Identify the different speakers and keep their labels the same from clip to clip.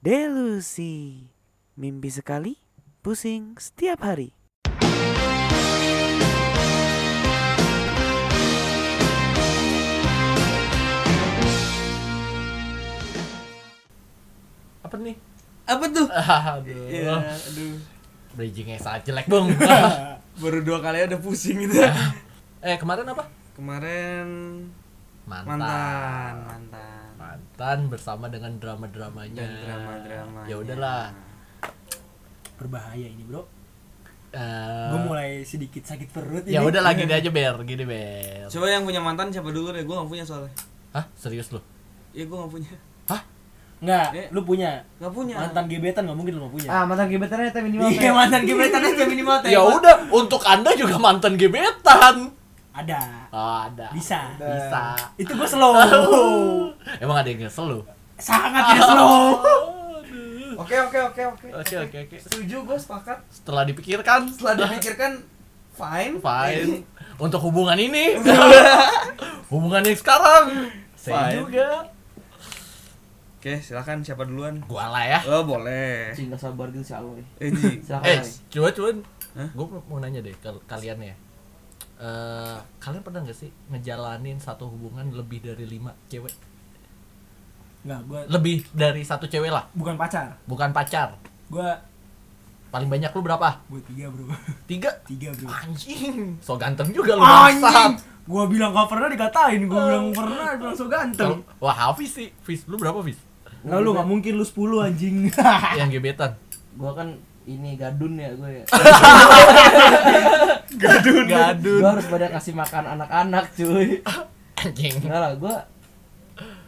Speaker 1: Delusi. Mimpi sekali, pusing setiap hari.
Speaker 2: apa nih?
Speaker 3: apa tuh
Speaker 2: Aduh,
Speaker 3: ya aduh
Speaker 2: bridgingnya sangat jelek bung.
Speaker 3: baru dua kali udah pusing gitu
Speaker 2: eh kemarin apa?
Speaker 3: kemarin
Speaker 2: Mantan.
Speaker 3: mantan mantan
Speaker 2: Mantan bersama dengan drama-dramanya.
Speaker 3: dan drama-drama
Speaker 2: Ya udahlah.
Speaker 4: berbahaya ini bro
Speaker 2: Eh,
Speaker 4: gue mulai sedikit sakit perut
Speaker 2: ya
Speaker 4: ini.
Speaker 2: udahlah gini aja ber, gini ber.
Speaker 3: coba yang punya mantan siapa dulu deh gue gak punya soalnya
Speaker 2: Hah serius lu?
Speaker 3: ya gue gak punya
Speaker 4: nggak
Speaker 3: Eh.
Speaker 4: lu punya
Speaker 3: gak punya
Speaker 4: mantan gebetan nggak mungkin lu nggak punya
Speaker 1: Ah, mantan gebetannya tapi minimal.
Speaker 3: iya mantan gebetan aja minimal tembak.
Speaker 2: Ya udah, untuk anda juga mantan gebetan.
Speaker 4: ada
Speaker 2: Ah, ada.
Speaker 4: bisa
Speaker 2: Bisa.
Speaker 4: itu gue slow
Speaker 3: Oh.
Speaker 2: Emang ada yang nyesel lu?
Speaker 4: sangat ya slow
Speaker 3: oke oke oke oke
Speaker 2: Oke oke oke.
Speaker 3: setuju gue sepakat
Speaker 2: Setelah dipikirkan,
Speaker 3: setelah dipikirkan fine Iya.
Speaker 2: fine untuk hubungan ini. hubungan yang sekarang. Saya
Speaker 3: Fine.
Speaker 2: juga.
Speaker 3: oke silakan siapa duluan
Speaker 2: Gua lah ya.
Speaker 3: oh boleh
Speaker 1: Cinta sabar gitu si Aloy.
Speaker 3: Eh, Ji.
Speaker 4: Oh,
Speaker 1: Silakan.
Speaker 2: Eh,
Speaker 1: Aloy.
Speaker 2: cuan cuan.
Speaker 3: Hah?
Speaker 2: Gue mau nanya deh ke kalian ya. Eh, kalian pernah gak sih ngejalanin satu hubungan lebih dari lima cewek?
Speaker 4: nggak gue
Speaker 2: Lebih dari satu cewek lah,
Speaker 4: bukan pacar
Speaker 2: bukan pacar.
Speaker 4: gue
Speaker 2: Paling banyak lu berapa?
Speaker 4: gue tiga bro
Speaker 2: Tiga.
Speaker 4: tiga bro
Speaker 2: Anjing. So ganteng juga lu Ah, bangsat.
Speaker 4: anjing gue bilang gak pernah dikatain gue bilang pernah gue langsung ganteng
Speaker 2: Kalau- Wah, Hafiz sih. Hafiz, lu berapa, Hafiz?
Speaker 4: nggak lu nggak mungkin lu 10 anjing
Speaker 2: Yang gebetan.
Speaker 1: Gua kan ini gadun ya gue ya.
Speaker 2: Gadun. Gadun.
Speaker 1: Gua harus pada kasih makan anak-anak, cuy.
Speaker 2: Anjing.
Speaker 1: Enggak lah, gua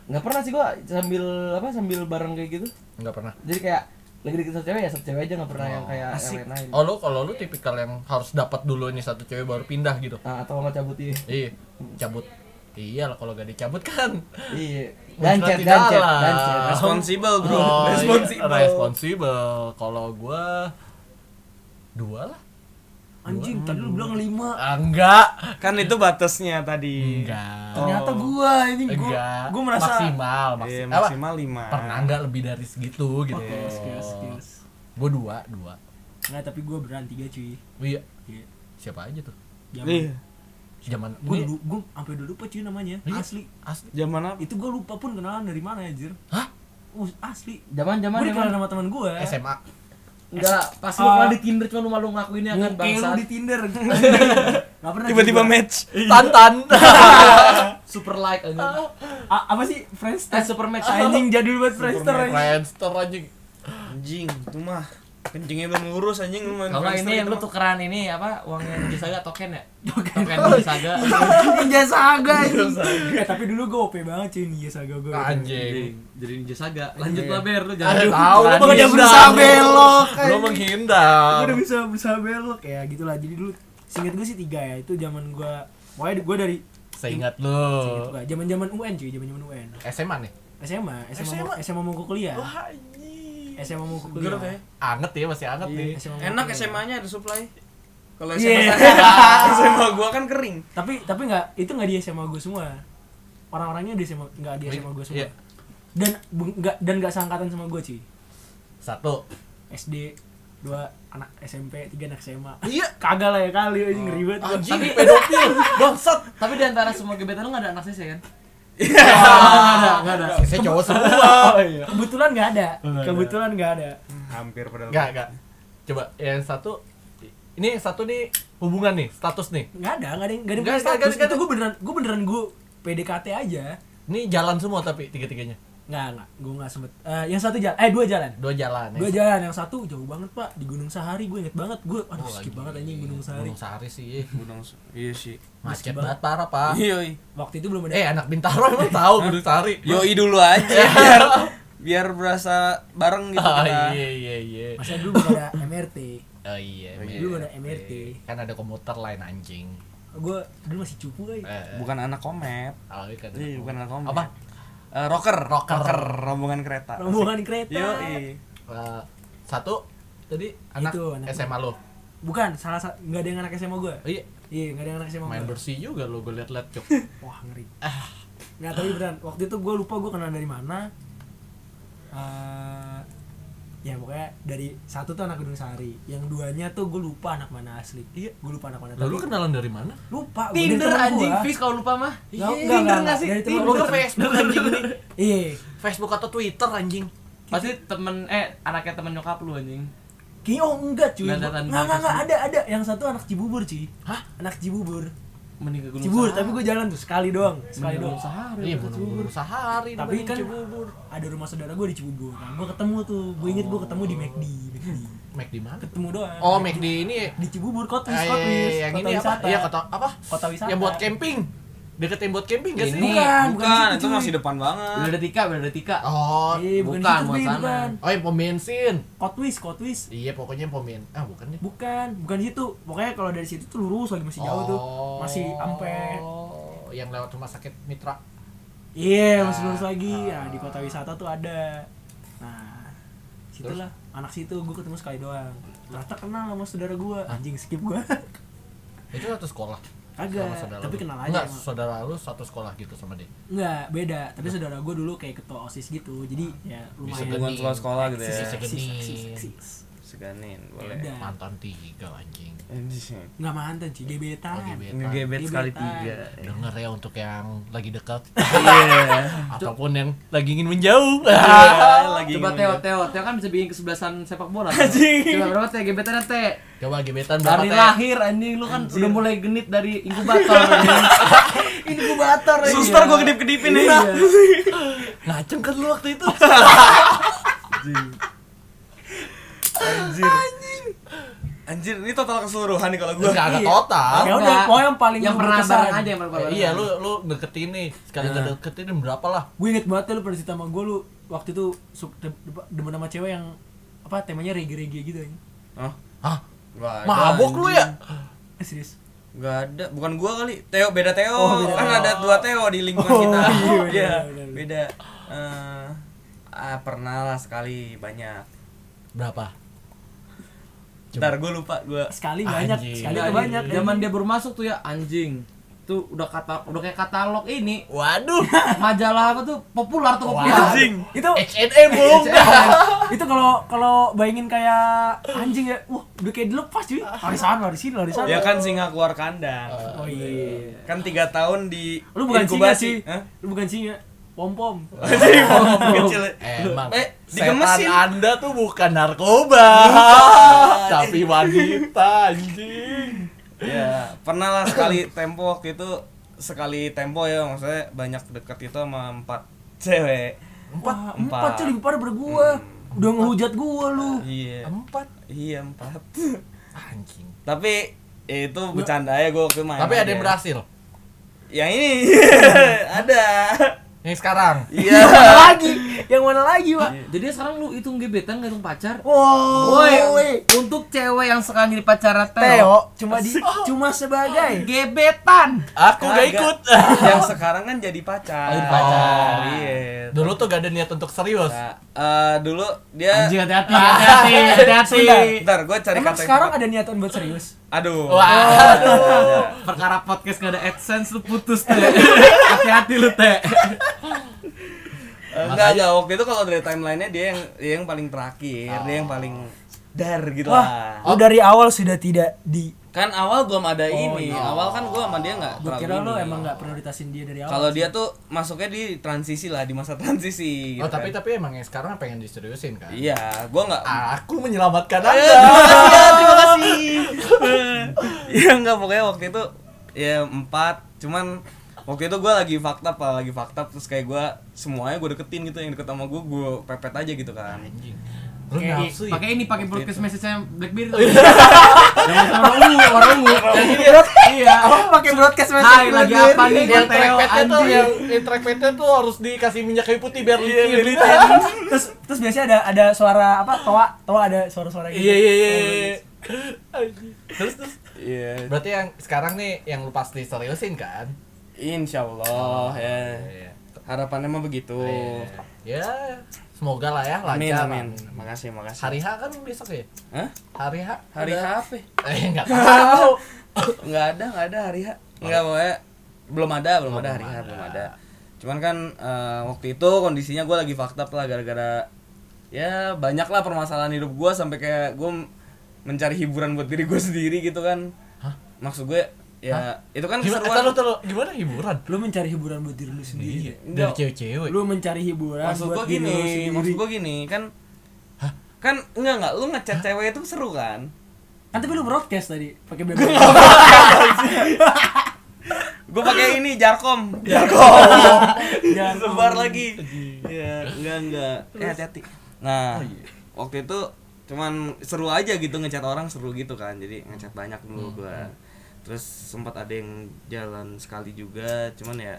Speaker 1: nggak pernah sih gua sambil apa sambil bareng kayak gitu.
Speaker 2: Enggak pernah.
Speaker 1: Jadi kayak lagi deket satu cewek ya satu cewek aja nggak pernah yang kayak
Speaker 4: asik.
Speaker 1: yang lain-lain.
Speaker 2: Oh, lu kalau lu tipikal yang harus dapat dulu nih satu cewek baru pindah gitu.
Speaker 1: Ah, atau sama cabut iya.
Speaker 2: Iya, cabut. Iya lah kalau gak dicabut kan.
Speaker 1: Iya.
Speaker 2: Muncrat
Speaker 1: Dancet,
Speaker 2: di
Speaker 1: dancet,
Speaker 2: dalam.
Speaker 1: dancet.
Speaker 3: responsible bro
Speaker 2: iya,
Speaker 3: responsible
Speaker 2: responsible. Kalau gua dua lah.
Speaker 4: anjing tadi lu bilang lima
Speaker 2: Ah, enggak.
Speaker 3: kan itu batasnya tadi
Speaker 2: Enggak.
Speaker 4: ternyata gua ini gua
Speaker 2: Enggak.
Speaker 4: gua merasa
Speaker 2: maksimal,
Speaker 3: Iya,
Speaker 2: maksimal. Apa?
Speaker 3: maksimal lima
Speaker 2: Pernah enggak lebih dari segitu gitu.
Speaker 4: Oke, skills, skills.
Speaker 2: Gua dua, dua.
Speaker 4: nggak tapi gua beran tiga cuy
Speaker 2: Iya.
Speaker 4: Iya.
Speaker 2: Siapa aja tuh?
Speaker 3: Ih,
Speaker 4: Zaman,
Speaker 2: Zaman
Speaker 4: gua
Speaker 2: ini
Speaker 4: dulu gua sampai dulu lupa cuy namanya.
Speaker 2: Iya.
Speaker 4: Asli.
Speaker 2: asli.
Speaker 3: zaman apa
Speaker 4: Itu gua lupa pun kenalan dari mana anjir.
Speaker 2: Hah?
Speaker 4: Uh, asli.
Speaker 1: Zaman-zaman
Speaker 4: Gua
Speaker 1: zaman
Speaker 4: dikenalan sama teman gua.
Speaker 2: SMA.
Speaker 1: enggak pas lu
Speaker 4: Ah.
Speaker 1: malah di Tinder cuma lu malu ngakuinnya kan
Speaker 4: Kayak lu
Speaker 1: bangsat.
Speaker 4: di Tinder. Gak pernah
Speaker 3: tiba-tiba
Speaker 4: cuy, gua.
Speaker 3: match
Speaker 2: Tantan.
Speaker 1: Super like anjing.
Speaker 4: A- apa sih Friendster?
Speaker 1: Eh, super match.
Speaker 4: Anjing jadul banget Friendster. anjing.
Speaker 2: Friendster anjing.
Speaker 3: anjing itu mah kencingnya belum lurus anjing lu main
Speaker 1: Kalau
Speaker 3: Friendster
Speaker 1: ini yang
Speaker 3: itu
Speaker 1: lu
Speaker 3: mah.
Speaker 1: tukeran ini apa uangnya Disaga token ya? Token Disaga.
Speaker 4: Ninja Saga anjing. Eh, tapi dulu gua OP banget cuy Ninja Saga gua.
Speaker 2: Anjing.
Speaker 1: Jadi Ninja Saga. Lanjut
Speaker 3: Iya.
Speaker 1: lah Ber, lu jangan.
Speaker 2: Aduh, tahu lu
Speaker 1: berani.
Speaker 2: bakal
Speaker 4: udah
Speaker 2: dia
Speaker 4: berusaha
Speaker 2: berusaha
Speaker 4: belok,
Speaker 2: belok. Lu
Speaker 4: anjing.
Speaker 2: menghindar.
Speaker 4: Gua udah bisa berusaha belok ya gitulah. Jadi dulu singkat gua sih tiga ya. Itu zaman gua Pokoknya gua dari
Speaker 2: Seingat lu.
Speaker 4: seingat gua, zaman-zaman UN cuy, zaman-zaman UN.
Speaker 2: SMA nih.
Speaker 4: SMA, SMA, SMA, SMA mau ke kuliah. SMA mau ke
Speaker 3: Gerut
Speaker 4: kuliah.
Speaker 3: ya.
Speaker 2: Anget ya, masih anget nih.
Speaker 4: SMA mau
Speaker 3: enak
Speaker 4: kuliah.
Speaker 3: SMA-nya ada supply kalau
Speaker 4: Iya.
Speaker 3: SMA saya SMA gua kan kering
Speaker 4: Tapi tapi nggak itu nggak di SMA gue semua. Orang-orangnya di SMA nggak di SMA gue semua.
Speaker 2: Iya.
Speaker 4: Dan bu- nggak dan nggak seangkatan sama gue cuy.
Speaker 2: Satu.
Speaker 4: SD dua anak SMP tiga anak SMA.
Speaker 2: Iya.
Speaker 4: Kagak lah ya kali anjing ngeri banget. gua.
Speaker 2: Anjing pedofil. Bangsat.
Speaker 1: Tapi di antara semua gebetan lu enggak ada anak sih kan?
Speaker 2: Enggak ada.
Speaker 4: Iya.
Speaker 2: Saya cowok semua.
Speaker 4: Kebetulan nggak ada. Kebetulan nggak ada.
Speaker 3: hampir padahal
Speaker 2: Enggak, enggak. Coba yang satu ini yang satu nih hubungan nih, status nih.
Speaker 4: Nggak ada, nggak ada yang
Speaker 2: Nggak,
Speaker 4: nggak ada yang punya
Speaker 2: nggak,
Speaker 4: status.
Speaker 2: nggak,
Speaker 4: Itu gue beneran gue beneran gue PDKT aja.
Speaker 2: Ini jalan semua tapi tiga-tiganya.
Speaker 4: Nggak nggak, gue nggak sempet. Eh, yang satu jalan, eh dua jalan.
Speaker 2: Dua jalan ya.
Speaker 4: Gue jalan yang satu jauh banget pak di Gunung Sahari gue inget banget gue aduh
Speaker 2: Oh,
Speaker 4: skip
Speaker 2: lagi.
Speaker 4: banget anjing Gunung Sahari
Speaker 2: Gunung Sahari sih.
Speaker 3: gunung Su- iya sih
Speaker 2: Macet
Speaker 4: banget. Iya,
Speaker 2: banget parah, Pak.
Speaker 3: yoi
Speaker 4: waktu itu belum ada
Speaker 2: Eh, anak Bintaro emang tahu Gunung Sahari.
Speaker 3: iya, yoi dulu aja biar biar berasa bareng gitu
Speaker 2: Oh,
Speaker 3: kita
Speaker 2: iya iya
Speaker 5: Eh.
Speaker 2: iya.
Speaker 4: masa dulu belum ada MRT
Speaker 2: Oh iya.
Speaker 3: iya.
Speaker 4: Dulu ada MRT.
Speaker 2: Kan ada komuter lain anjing.
Speaker 4: gue dulu masih cupu aja
Speaker 2: Eh,
Speaker 3: bukan anak komet
Speaker 2: oh, iya kan.
Speaker 3: Iya, bukan anak komet
Speaker 2: Apa?
Speaker 3: Eh, rocker,
Speaker 2: Rocker.
Speaker 3: rombongan kereta
Speaker 4: rombongan kereta
Speaker 3: yoi
Speaker 2: Eh, satu tadi anak,
Speaker 4: Itu, anak
Speaker 2: SMA lo.
Speaker 4: bukan salah satu nggak ada yang anak SMA gue
Speaker 5: Eh.
Speaker 2: Oh, iya,
Speaker 4: iya nggak ada yang anak SMA
Speaker 2: main
Speaker 4: gue
Speaker 2: bersih juga lo gue liat-liat cok.
Speaker 4: wah ngeri
Speaker 5: Ah.
Speaker 4: nggak tapi beneran waktu itu gue lupa gue kenal dari mana Eh, ya pokoknya dari satu tuh anak Gedung Sari yang duanya tuh gue lupa anak mana asli
Speaker 2: Iya.
Speaker 4: gue lupa anak mana
Speaker 2: Lalu
Speaker 4: tapi
Speaker 2: kenalan dari mana?
Speaker 4: lupa gua, dari
Speaker 5: kan Tinder
Speaker 4: temen
Speaker 5: anjing
Speaker 4: gua.
Speaker 5: Fis kalau lupa mah.
Speaker 4: Iya, enggak,
Speaker 5: Tinder
Speaker 4: enggak,
Speaker 5: nggak
Speaker 4: enggak.
Speaker 5: sih?
Speaker 4: Dari temen
Speaker 5: Lu ke
Speaker 4: temen.
Speaker 5: Facebook anjing ini.
Speaker 4: iya
Speaker 2: Facebook atau Twitter anjing.
Speaker 5: Pasti temen eh anaknya temen nyokap lu anjing.
Speaker 4: kayaknya oh enggak cuy
Speaker 5: Nggak ada
Speaker 4: nggak
Speaker 5: tanda
Speaker 4: nggak nggak
Speaker 5: kesini.
Speaker 4: ada ada yang satu anak Cibubur cuy
Speaker 2: Hah?
Speaker 4: anak Cibubur
Speaker 5: Mending ke Gunung
Speaker 4: Cibubur
Speaker 5: Sahari.
Speaker 4: tapi gue jalan tuh sekali doang sekali
Speaker 5: Mending ke
Speaker 4: doang
Speaker 5: Gunung Sahari.
Speaker 2: Iya,
Speaker 5: lu ke
Speaker 2: bunuh-bunuh
Speaker 5: Cibubur.
Speaker 2: sehari
Speaker 4: tapi
Speaker 2: dibanding
Speaker 4: kan
Speaker 2: Cibubur.
Speaker 4: ada rumah saudara gue di Cibubur nah gue ketemu tuh gue inget gue ketemu di McD McD
Speaker 2: Mac di mana?
Speaker 4: ketemu doang
Speaker 2: Oh, Mac di ini
Speaker 4: di Cibubur kota
Speaker 2: eh,
Speaker 4: kota
Speaker 2: yang ini apa? Iya, kota apa?
Speaker 4: Kota wisata.
Speaker 2: Yang buat camping. Deketin buat camping gak sih?
Speaker 5: Ini.
Speaker 4: bukan
Speaker 3: bukan
Speaker 4: di situ,
Speaker 3: itu
Speaker 4: cuy.
Speaker 3: masih depan banget
Speaker 5: Beladetika, Beladetika.
Speaker 2: Oh,
Speaker 4: Iya, bukan,
Speaker 5: Bukan,
Speaker 4: bukan
Speaker 5: buat sana.
Speaker 4: bukan.
Speaker 2: oh yang pom bensin.
Speaker 4: Kotwis, Kotwis.
Speaker 2: Iya, pokoknya pom bensin. Ah, bukan nih.
Speaker 4: Bukan, bukan di situ. Pokoknya kalau dari situ tuh lurus lagi masih jauh tuh. Masih ampe
Speaker 2: Oh, yang lewat rumah sakit Mitra.
Speaker 4: Iya, masih
Speaker 2: Ah,
Speaker 4: lurus lagi.
Speaker 2: ah.
Speaker 4: Nah, di kota wisata tuh ada. Nah, situlah anak situ gue ketemu sekali doang. Ternyata kenal sama saudara gue. Anjing skip gue.
Speaker 2: Itu satu sekolah.
Speaker 4: Kagak,
Speaker 2: Sama saudara
Speaker 4: tapi
Speaker 2: lu.
Speaker 4: kenal aja
Speaker 2: Enggak,
Speaker 4: emang.
Speaker 2: saudara lu satu sekolah gitu sama dia.
Speaker 4: Enggak, beda. Tapi saudara gue dulu kayak ketua OSIS gitu. Jadi ya
Speaker 2: Bisa
Speaker 4: lumayan.
Speaker 3: hubungan
Speaker 2: gini.
Speaker 3: sekolah sekolah gitu ya
Speaker 2: Bisa gini.
Speaker 4: Eksis, eksis, eksis.
Speaker 3: seganin boleh
Speaker 4: Ya Udah.
Speaker 2: Mantan tiga anjing.
Speaker 4: Iya. Nggak mantan sih, gebetan.
Speaker 2: Oh, gebetan.
Speaker 3: ngegebet
Speaker 4: Iya,
Speaker 3: sekali tiga
Speaker 2: Denger ya untuk yang lagi dekat
Speaker 3: iya
Speaker 2: ataupun yang lagi ingin menjauh.
Speaker 3: lagi ngomong
Speaker 5: Coba Teo,
Speaker 3: ya.
Speaker 5: Teo, Teo kan bisa bikin kesebelasan sepak bola. Teo.
Speaker 4: Anjing.
Speaker 5: Coba berapa Teo gebetannya Teo?
Speaker 2: Coba gebetan berapa
Speaker 5: Dari
Speaker 2: teh?
Speaker 5: lahir anjing lu kan udah mulai genit dari inkubator. anjing.
Speaker 4: Inkubator. ya.
Speaker 3: suster gua kedip kedipin nih
Speaker 4: Iya.
Speaker 2: Ngaceng kan lu waktu itu.
Speaker 3: anjir anjir ini total keseluruhan nih kalau gua
Speaker 2: Enggak agak total.
Speaker 4: Ya udah, pokoknya yang paling
Speaker 5: Oh, yang pernah
Speaker 4: berkesan.
Speaker 5: bareng aja yang pernah
Speaker 2: Eh,
Speaker 5: bareng.
Speaker 2: iya, lu lu deketin nih. Sekali deketin berapa lah?
Speaker 4: Gue inget banget tuh lu pernah cerita sama gue lu waktu itu su- de- de- demen sama cewek yang apa temanya rege-rege gitu ya.
Speaker 3: Hah?
Speaker 2: Hah?
Speaker 3: Nggak ada,
Speaker 2: Mabok lu ya?
Speaker 4: Eh, serius.
Speaker 3: Gak ada, bukan gua kali. Teo beda Teo.
Speaker 4: Oh, beda
Speaker 3: kan
Speaker 4: Teo.
Speaker 3: ada dua Teo di lingkungan
Speaker 4: Oh,
Speaker 3: kita.
Speaker 4: iya, bener,
Speaker 3: Iya,
Speaker 4: bener, bener.
Speaker 3: beda. Eh, ah, pernah lah sekali banyak.
Speaker 2: Berapa?
Speaker 3: Ntar gua lupa gua.
Speaker 4: Sekali banyak,
Speaker 2: Anjing.
Speaker 4: sekali
Speaker 5: Iya,
Speaker 4: tuh banyak.
Speaker 5: anjing. Zaman dia baru masuk tuh ya anjing. Tuh udah kata udah kayak katalog ini.
Speaker 2: Waduh.
Speaker 5: Majalah apa tuh? Populer tuh populer.
Speaker 3: Anjing.
Speaker 4: Itu
Speaker 2: H&M belum.
Speaker 4: itu kalau kalau bayangin kayak anjing ya, wah udah kayak dilepas cuy. Lari sana, lari sini, lari sana.
Speaker 3: Ya kan singa keluar kandang.
Speaker 4: Oh iya.
Speaker 3: Kan tiga tahun di
Speaker 4: Lu bukan singa
Speaker 3: inkubasi.
Speaker 4: sih.
Speaker 3: Hah?
Speaker 4: Lu bukan singa. Pom-pom.
Speaker 3: Anjing, kecil.
Speaker 2: Emang
Speaker 3: Eh,
Speaker 2: setan
Speaker 3: digemesin.
Speaker 2: Anda tuh bukan narkoba, tapi wanita anjing.
Speaker 3: Ya, pernah lah sekali tempo waktu itu sekali tempo ya maksudnya banyak deket itu sama empat cewek. Empat.
Speaker 4: Empat, empat cuy, lebih parah dari gua. Udah ngehujat gua lu.
Speaker 3: Iya.
Speaker 2: Empat
Speaker 3: Iya, empat.
Speaker 2: anjing.
Speaker 3: Tapi ya itu bercanda ya gue waktu main.
Speaker 2: Tapi ada
Speaker 3: aja.
Speaker 2: yang berhasil.
Speaker 3: Yang ini ada.
Speaker 2: Yang sekarang.
Speaker 3: Iya.
Speaker 4: Yang mana lagi? Yang mana lagi, Pak?
Speaker 5: Jadi sekarang lu hitung gebetan nggak hitung pacar? Woi,
Speaker 4: Woi,
Speaker 5: untuk cewek yang sekarang jadi pacar Teo,
Speaker 4: Teo cuma di cuma sebagai
Speaker 5: gebetan.
Speaker 2: Aku gak
Speaker 3: Kagak.
Speaker 2: ikut.
Speaker 3: Yang sekarang kan jadi pacar.
Speaker 2: Oh, jadi pacar.
Speaker 3: Iya.
Speaker 2: Dulu tuh gak ada niat untuk serius.
Speaker 3: Nah, eh, dulu dia
Speaker 5: Anjing hati-hati, hati-hati, hati-hati.
Speaker 4: Sebentar.
Speaker 3: Bentar, gue cari
Speaker 4: Emang
Speaker 3: kata yang
Speaker 4: sekarang
Speaker 3: tepat.
Speaker 4: ada niatan buat serius?
Speaker 3: Aduh. Oh.
Speaker 2: Waduh.
Speaker 5: Perkara podcast gak ada AdSense lu putus teh. Hati-hati lu teh.
Speaker 3: Eh, Enggak aja waktu itu kalau dari timelinenya dia yang dia yang paling terakhir, dia yang paling dar gitu lah.
Speaker 4: Lu dari awal sudah tidak di
Speaker 3: Kan awal belum ada ini. Awal kan gue sama dia nggak
Speaker 4: Gue
Speaker 3: terlalu.
Speaker 4: kira lu
Speaker 3: ini.
Speaker 4: emang gak prioritasin dia dari awal
Speaker 3: Kalau dia tuh masuknya di transisi lah, di masa transisi.
Speaker 2: Oh
Speaker 3: gitu
Speaker 2: tapi
Speaker 3: kan.
Speaker 2: tapi emang yang sekarang pengen diseriusin kan? Ah,
Speaker 3: Iya, gue nggak
Speaker 2: Aku menyelamatkan anda.
Speaker 3: terima kasih. ya enggak pokoknya waktu itu ya empat cuman waktu itu gue lagi fakta apa lagi fakta terus kayak gue semuanya gue deketin gitu yang deket sama gue gue pepet aja gitu kan
Speaker 2: Anjing. Lu
Speaker 5: Pakai Gitu.
Speaker 2: nafsu ya?
Speaker 5: pakai ini, pakai broadcast message-nya BlackBerry. tuh. Yang sama orang ungu, orang ungu. Iya.
Speaker 3: Oh,
Speaker 4: pakai broadcast
Speaker 5: Hai, lagi apa nih
Speaker 2: Yang trackpadnya
Speaker 5: buat Teo
Speaker 2: tuh
Speaker 5: anjing?
Speaker 2: yang, yang trackpadnya tuh harus dikasih minyak kayu putih Iya, biar licin.
Speaker 4: terus terus biasanya ada ada suara apa toa toa ada suara-suara gitu
Speaker 2: Iya iya iya. iya. Anjing. Terus terus.
Speaker 3: iya
Speaker 2: Berarti yang sekarang nih yang lu pasti seriusin kan?
Speaker 3: insya Allah ya
Speaker 2: Iya.
Speaker 3: harapannya mah begitu iya.
Speaker 2: Ya, semoga lah ya
Speaker 3: oh. amin
Speaker 2: lancar.
Speaker 3: amin makasih makasih
Speaker 2: Hari H kan besok ya?
Speaker 3: Hah?
Speaker 2: Hari H?
Speaker 3: hari H
Speaker 2: ada-
Speaker 3: apa
Speaker 2: Eh, enggak tahu.
Speaker 3: nggak ada nggak ada hari H nggak pokoknya belum ada belum
Speaker 2: Oh,
Speaker 3: ada
Speaker 2: belum
Speaker 3: hari H
Speaker 2: ada.
Speaker 3: belum ada cuman kan eh, waktu itu kondisinya gue lagi fakta lah gara-gara ya banyak lah permasalahan hidup gue sampai kayak gue mencari hiburan buat diri gue sendiri gitu kan
Speaker 2: Hah?
Speaker 3: maksud gue ya itu kan
Speaker 2: Gimana?
Speaker 3: keseruan
Speaker 2: Taruh, taruh. Gimana hiburan?
Speaker 4: lu mencari hiburan buat diri lu sendiri ya?
Speaker 2: Dari cewek-cewek.
Speaker 4: lu mencari hiburan
Speaker 3: maksud
Speaker 4: buat
Speaker 3: gue
Speaker 4: diri lu
Speaker 3: gini
Speaker 4: sendiri
Speaker 3: maksud gue gini kan kan enggak enggak lu ngechat cewek itu seru kan
Speaker 4: kan tapi lu broadcast tadi pakai BB
Speaker 3: gue pakai ini jarkom
Speaker 4: Jarkom.
Speaker 3: sebar lagi ya enggak enggak eh hati-hati
Speaker 2: Oh,
Speaker 3: nah
Speaker 2: iya.
Speaker 3: waktu itu cuman seru aja gitu ngechat orang seru gitu kan jadi ngechat banyak
Speaker 2: Hmm.
Speaker 3: dulu gua terus sempat ada yang jalan sekali juga cuman ya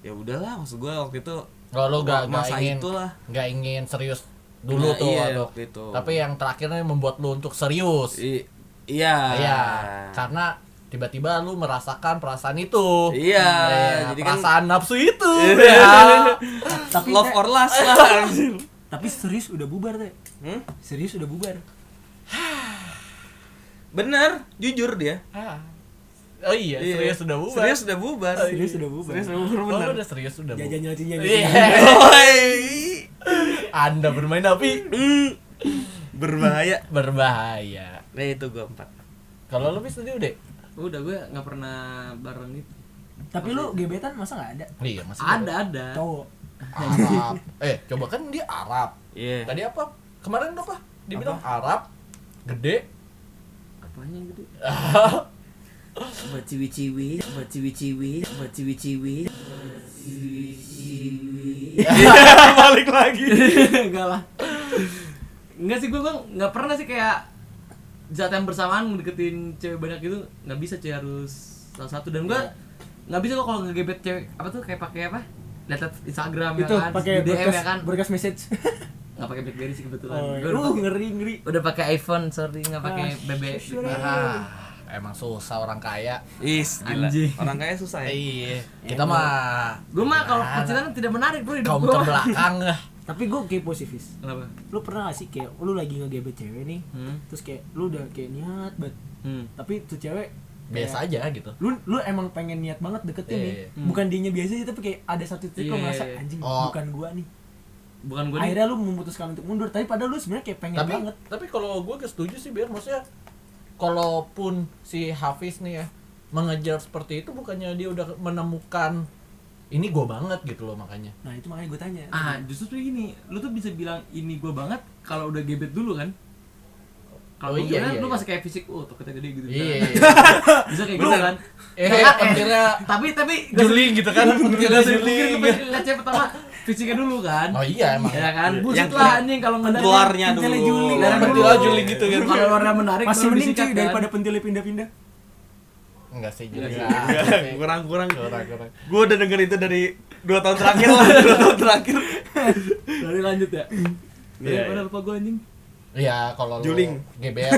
Speaker 3: ya udahlah maksud gua waktu itu
Speaker 2: Kalau lu gak, gak
Speaker 3: masa
Speaker 2: ingin
Speaker 3: itulah
Speaker 2: gak ingin serius dulu
Speaker 3: Nah,
Speaker 2: tuh
Speaker 3: iya,
Speaker 2: aduh.
Speaker 3: waktu itu.
Speaker 2: Tapi yang terakhirnya membuat lu untuk serius.
Speaker 3: I- iya
Speaker 2: Iya. Karena tiba-tiba lu merasakan perasaan itu.
Speaker 3: Iya, jadi
Speaker 2: jadi
Speaker 3: kan-
Speaker 2: perasaan nafsu itu. Ya.
Speaker 3: Iya.
Speaker 4: Tapi
Speaker 3: love
Speaker 4: Teh-
Speaker 3: or lust lah anjir.
Speaker 4: tapi serius udah bubar teh
Speaker 3: Hmm?
Speaker 4: serius udah bubar
Speaker 3: bener jujur dia
Speaker 2: Ah. Oh iya,
Speaker 3: Iya.
Speaker 2: serius sudah bubar.
Speaker 3: serius udah bubar
Speaker 4: serius udah
Speaker 3: Oh,
Speaker 4: bubar
Speaker 3: iya. serius udah bubar
Speaker 2: Oh,
Speaker 3: bener
Speaker 2: lu udah serius sudah bubar.
Speaker 4: jajan jajan
Speaker 2: Iya.
Speaker 3: Oi.
Speaker 2: Anda bermain api
Speaker 3: Hmm. berbahaya
Speaker 2: berbahaya.
Speaker 3: nah itu gua empat
Speaker 2: Kalau lu bis tadi udah.
Speaker 5: Oh, Udah gue nggak pernah bareng itu.
Speaker 4: tapi lu gebetan masa nggak ada
Speaker 2: Iya, masih
Speaker 5: Ada ada.
Speaker 4: cowok
Speaker 2: Arab. eh, coba kan dia Arab.
Speaker 3: iya
Speaker 2: Tadi apa? Kemarin apa? Dibilang Arab, gede.
Speaker 5: Apanya yang gede? Buat ciwi-ciwi, buat ciwi-ciwi, buat ciwi-ciwi.
Speaker 3: Iya. balik lagi
Speaker 5: Enggak lah. Enggak sih gue gue nggak pernah sih kayak saat yang bersamaan deketin cewek banyak gitu nggak bisa cuy harus salah satu dan gue nggak bisa kok kalau ngegebet cewek apa tuh kayak pakai apa lihat Instagram
Speaker 4: itu
Speaker 5: ya kan
Speaker 4: pakai
Speaker 5: di DM
Speaker 4: berkas
Speaker 5: ya kan
Speaker 4: berkas message
Speaker 5: nggak pakai BlackBerry sih kebetulan
Speaker 4: oh,
Speaker 5: Gua
Speaker 4: lu
Speaker 5: udah pakai-
Speaker 4: ngeri ngeri
Speaker 5: udah pakai iPhone sorry nggak pakai BB
Speaker 2: Ah,
Speaker 4: Nah.
Speaker 2: emang susah orang kaya.
Speaker 3: Is, gila.
Speaker 5: Anjing.
Speaker 3: Orang kaya susah ya.
Speaker 2: Iya. Kita mah
Speaker 5: gue mah kalau percintaan tidak menarik bro hidup
Speaker 2: kaum
Speaker 5: gue mah
Speaker 2: terbelakang.
Speaker 4: tapi gue kayak positif
Speaker 5: kenapa
Speaker 4: lu pernah gak sih kayak lu lagi ngegebet cewek nih
Speaker 5: hmm.
Speaker 4: terus kayak lu udah kayak niat banget
Speaker 5: hmm.
Speaker 4: tapi tuh cewek
Speaker 2: Biasa
Speaker 4: kayak,
Speaker 2: aja gitu.
Speaker 4: lu lu emang pengen niat banget deketin
Speaker 2: Iya,
Speaker 4: nih
Speaker 2: iya.
Speaker 5: Hmm.
Speaker 4: bukan dianya biasa aja tapi kayak ada satu titik
Speaker 5: Iya,
Speaker 4: lu
Speaker 5: iya,
Speaker 4: ngerasa
Speaker 5: iya.
Speaker 4: anjing
Speaker 2: Oh.
Speaker 4: bukan gua nih
Speaker 5: bukan gue
Speaker 4: akhirnya lu memutuskan untuk mundur tapi padahal lu sebenarnya kayak pengen
Speaker 2: tapi
Speaker 4: Iya banget
Speaker 2: tapi kalau gue gak setuju sih biar maksudnya kalaupun si Hafiz nih ya mengejar seperti itu bukannya dia udah menemukan ini gue banget gitu loh makanya
Speaker 4: nah itu makanya gue tanya
Speaker 5: ah justru tuh gini lu tuh bisa bilang ini gue banget kalau udah gebet dulu kan kalau
Speaker 2: Oh, iya,
Speaker 5: belum gebet, kan
Speaker 2: iya,
Speaker 5: lu
Speaker 2: iya.
Speaker 5: masih kayak fisik oh toketnya gede gitu
Speaker 2: iya
Speaker 5: misalnya. bisa kayak gitu
Speaker 2: Bener.
Speaker 5: kan
Speaker 2: eh
Speaker 5: Eh,
Speaker 2: akhirnya
Speaker 5: tapi tapi
Speaker 2: juling gitu kan
Speaker 5: nggak
Speaker 2: akhirnya
Speaker 5: usah
Speaker 2: juling
Speaker 5: dipikir lu pengen lihat cewek pertama fisiknya dulu kan
Speaker 2: oh iya emang
Speaker 5: ya kan
Speaker 3: Yang
Speaker 5: buset
Speaker 3: ke-
Speaker 5: lah anjing kalau nggak
Speaker 3: Luarnya
Speaker 4: Pentilnya
Speaker 3: dulu.
Speaker 4: juling.
Speaker 5: Darah
Speaker 2: Pentil
Speaker 5: dulu.
Speaker 2: lah juling gitu kan.
Speaker 5: kalau luarnya menarik
Speaker 4: masih
Speaker 5: baru
Speaker 4: mending
Speaker 5: disikat,
Speaker 4: cuy
Speaker 5: kan.
Speaker 4: daripada pentilnya pindah-pindah
Speaker 2: enggak sih juling
Speaker 3: Iya, kurang kurang.
Speaker 2: kurang kurang
Speaker 3: Gue udah denger itu dari dua tahun terakhir lah, dua tahun terakhir.
Speaker 5: dari lanjut ya
Speaker 3: Iya,
Speaker 5: Daripada
Speaker 3: iya.
Speaker 5: lupa gue anjing
Speaker 2: iya kalau lu
Speaker 3: Juling.
Speaker 2: GBR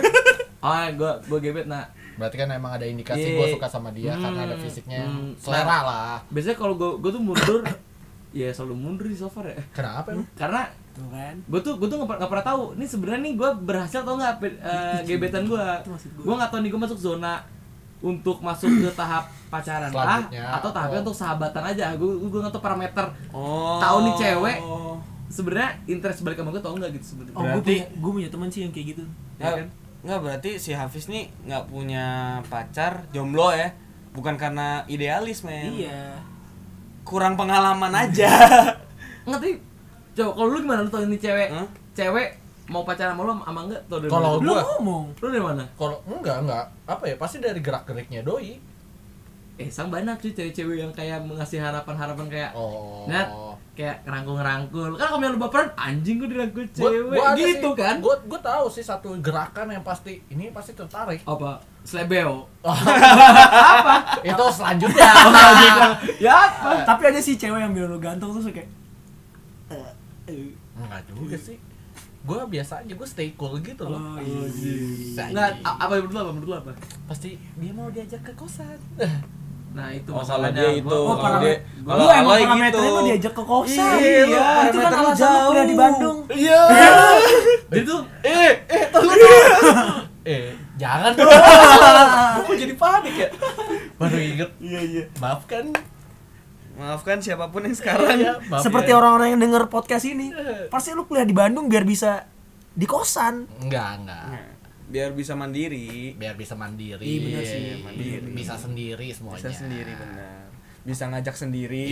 Speaker 5: ah gue gue gebet nah
Speaker 2: berarti kan emang ada indikasi
Speaker 5: Iya.
Speaker 2: gue suka sama dia karena ada
Speaker 5: Hmm,
Speaker 2: fisiknya
Speaker 5: hmm.
Speaker 2: selera lah
Speaker 5: biasanya kalau gue gue tuh mundur ya selalu mundur di sofa ya
Speaker 2: kenapa emang
Speaker 5: karena
Speaker 4: tuh kan
Speaker 5: gue tuh gue tuh nggak per- nggak pernah tahu nih sebenarnya nih gue berhasil atau nggak pe- eh, gebetan gue
Speaker 4: Itu maksud gua.
Speaker 5: gue nggak tahu nih gue masuk zona untuk masuk ke tahap pacaran lah
Speaker 2: Selanjutnya.
Speaker 5: atau tahapnya
Speaker 2: Oh.
Speaker 5: untuk sahabatan aja gue gue nggak tahu parameter
Speaker 3: Oh.
Speaker 5: tahu nih cewek sebenarnya interest balik sama gue tau nggak gitu
Speaker 4: oh
Speaker 5: sebenarnya
Speaker 4: gue
Speaker 3: Berarti-
Speaker 4: punya gue punya teman sih yang kayak gitu
Speaker 3: Iya
Speaker 5: ya kan?
Speaker 3: Enggak berarti si Hafiz nih nggak punya pacar, jomblo ya. Bukan karena idealis, men.
Speaker 4: iya
Speaker 3: Kurang pengalaman aja.
Speaker 5: nggak tapi coba kalau lu gimana lu tau ini cewek
Speaker 3: Hah?
Speaker 5: cewek mau pacaran sama lu sama enggak tau dari
Speaker 2: Kalau
Speaker 5: mana?
Speaker 4: lu
Speaker 2: gua-
Speaker 4: ngomong
Speaker 5: lu dari mana
Speaker 2: kalau enggak enggak apa ya pasti dari gerak geriknya doi
Speaker 5: eh sang banyak sih cewek-cewek yang kayak mengasih harapan-harapan kayak
Speaker 2: oh
Speaker 5: Nat, kayak ngerangkul-ngerangkul kan kalau misalnya lu baperan anjing gue dirangkul
Speaker 2: Gua-
Speaker 5: cewek
Speaker 2: gua ada
Speaker 5: gitu
Speaker 2: sih,
Speaker 5: kan
Speaker 2: gua gua tahu sih satu gerakan yang pasti ini pasti tertarik
Speaker 5: apa slebeo
Speaker 2: itu selanjutnya
Speaker 5: ya apa
Speaker 4: Ah. tapi ada sih cewek yang bilang lu ganteng terus kayak eh, eh.
Speaker 2: enggak juga sih gua biasa aja gua stay cool gitu loh
Speaker 4: oh iya
Speaker 2: Bisa
Speaker 5: nggak
Speaker 2: aja.
Speaker 5: a- apa menurut lu apa menurut lu apa
Speaker 2: pasti dia mau diajak ke kosan
Speaker 5: nah itu
Speaker 3: Oh, kalau
Speaker 5: masalahnya
Speaker 3: dia itu,
Speaker 4: Oh,
Speaker 5: gua,
Speaker 3: kalau
Speaker 4: parameter.
Speaker 3: dia-
Speaker 4: lu
Speaker 3: kalau
Speaker 4: emang
Speaker 3: Aloy
Speaker 4: parameternya
Speaker 3: gitu.
Speaker 4: lu diajak ke kosan.
Speaker 3: Iya, lu
Speaker 4: itu kan
Speaker 3: parameternya
Speaker 4: alasan lu kuliah di
Speaker 3: jauh.
Speaker 4: Bandung.
Speaker 2: iya
Speaker 5: dia tuh
Speaker 2: eh eh tunggu dong eh jangan dong
Speaker 3: Ah.
Speaker 2: gua kok jadi panik ya baru inget iya iya maafkan
Speaker 3: Maafkan siapapun yang sekarang.
Speaker 2: Iya, maaf ya.
Speaker 4: Seperti orang-orang yang denger podcast ini, pasti lu kuliah di Bandung biar bisa di kosan.
Speaker 2: Enggak, enggak.
Speaker 5: Iya.
Speaker 3: Biar bisa mandiri.
Speaker 2: Biar bisa mandiri.
Speaker 4: Iya, bener sih.
Speaker 3: mandiri.
Speaker 2: Bisa sendiri semuanya.
Speaker 3: Bisa sendiri benar. Bisa ngajak sendiri.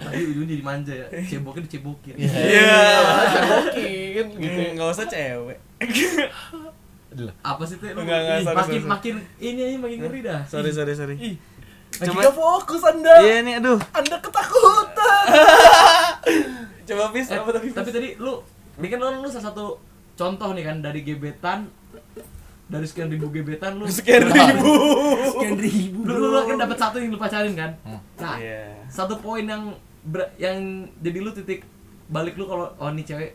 Speaker 5: Tapi ujungnya jadi manja ya. Ceboknya dicebokin.
Speaker 3: Iya. Mm.
Speaker 2: Mungkin gitu.
Speaker 3: Enggak usah cewek.
Speaker 2: Aduh.
Speaker 5: Apa sih teh? Lu
Speaker 3: Enggak, enggak,
Speaker 5: ih,
Speaker 3: sorry,
Speaker 5: makin
Speaker 3: sorry,
Speaker 5: makin ini aja makin ngeri dah.
Speaker 3: Sorry, sorry, sorry.
Speaker 2: Cuma
Speaker 3: Cuma-
Speaker 2: fokus Anda.
Speaker 3: Iya nih, aduh.
Speaker 2: Anda ketakutan.
Speaker 3: Coba pis
Speaker 5: Eh,
Speaker 3: apa tadi?
Speaker 5: tapi tadi lu ini kan lu, lu salah satu contoh nih kan dari gebetan dari sekian ribu gebetan lu
Speaker 3: sekian ribu.
Speaker 4: Sekian ribu.
Speaker 5: lu, lu, lu kan dapat satu yang lu pacarin kan
Speaker 2: Hmm.
Speaker 5: nah
Speaker 3: Iya.
Speaker 5: satu poin yang ber- yang jadi lu titik balik lu kalau oh nih cewek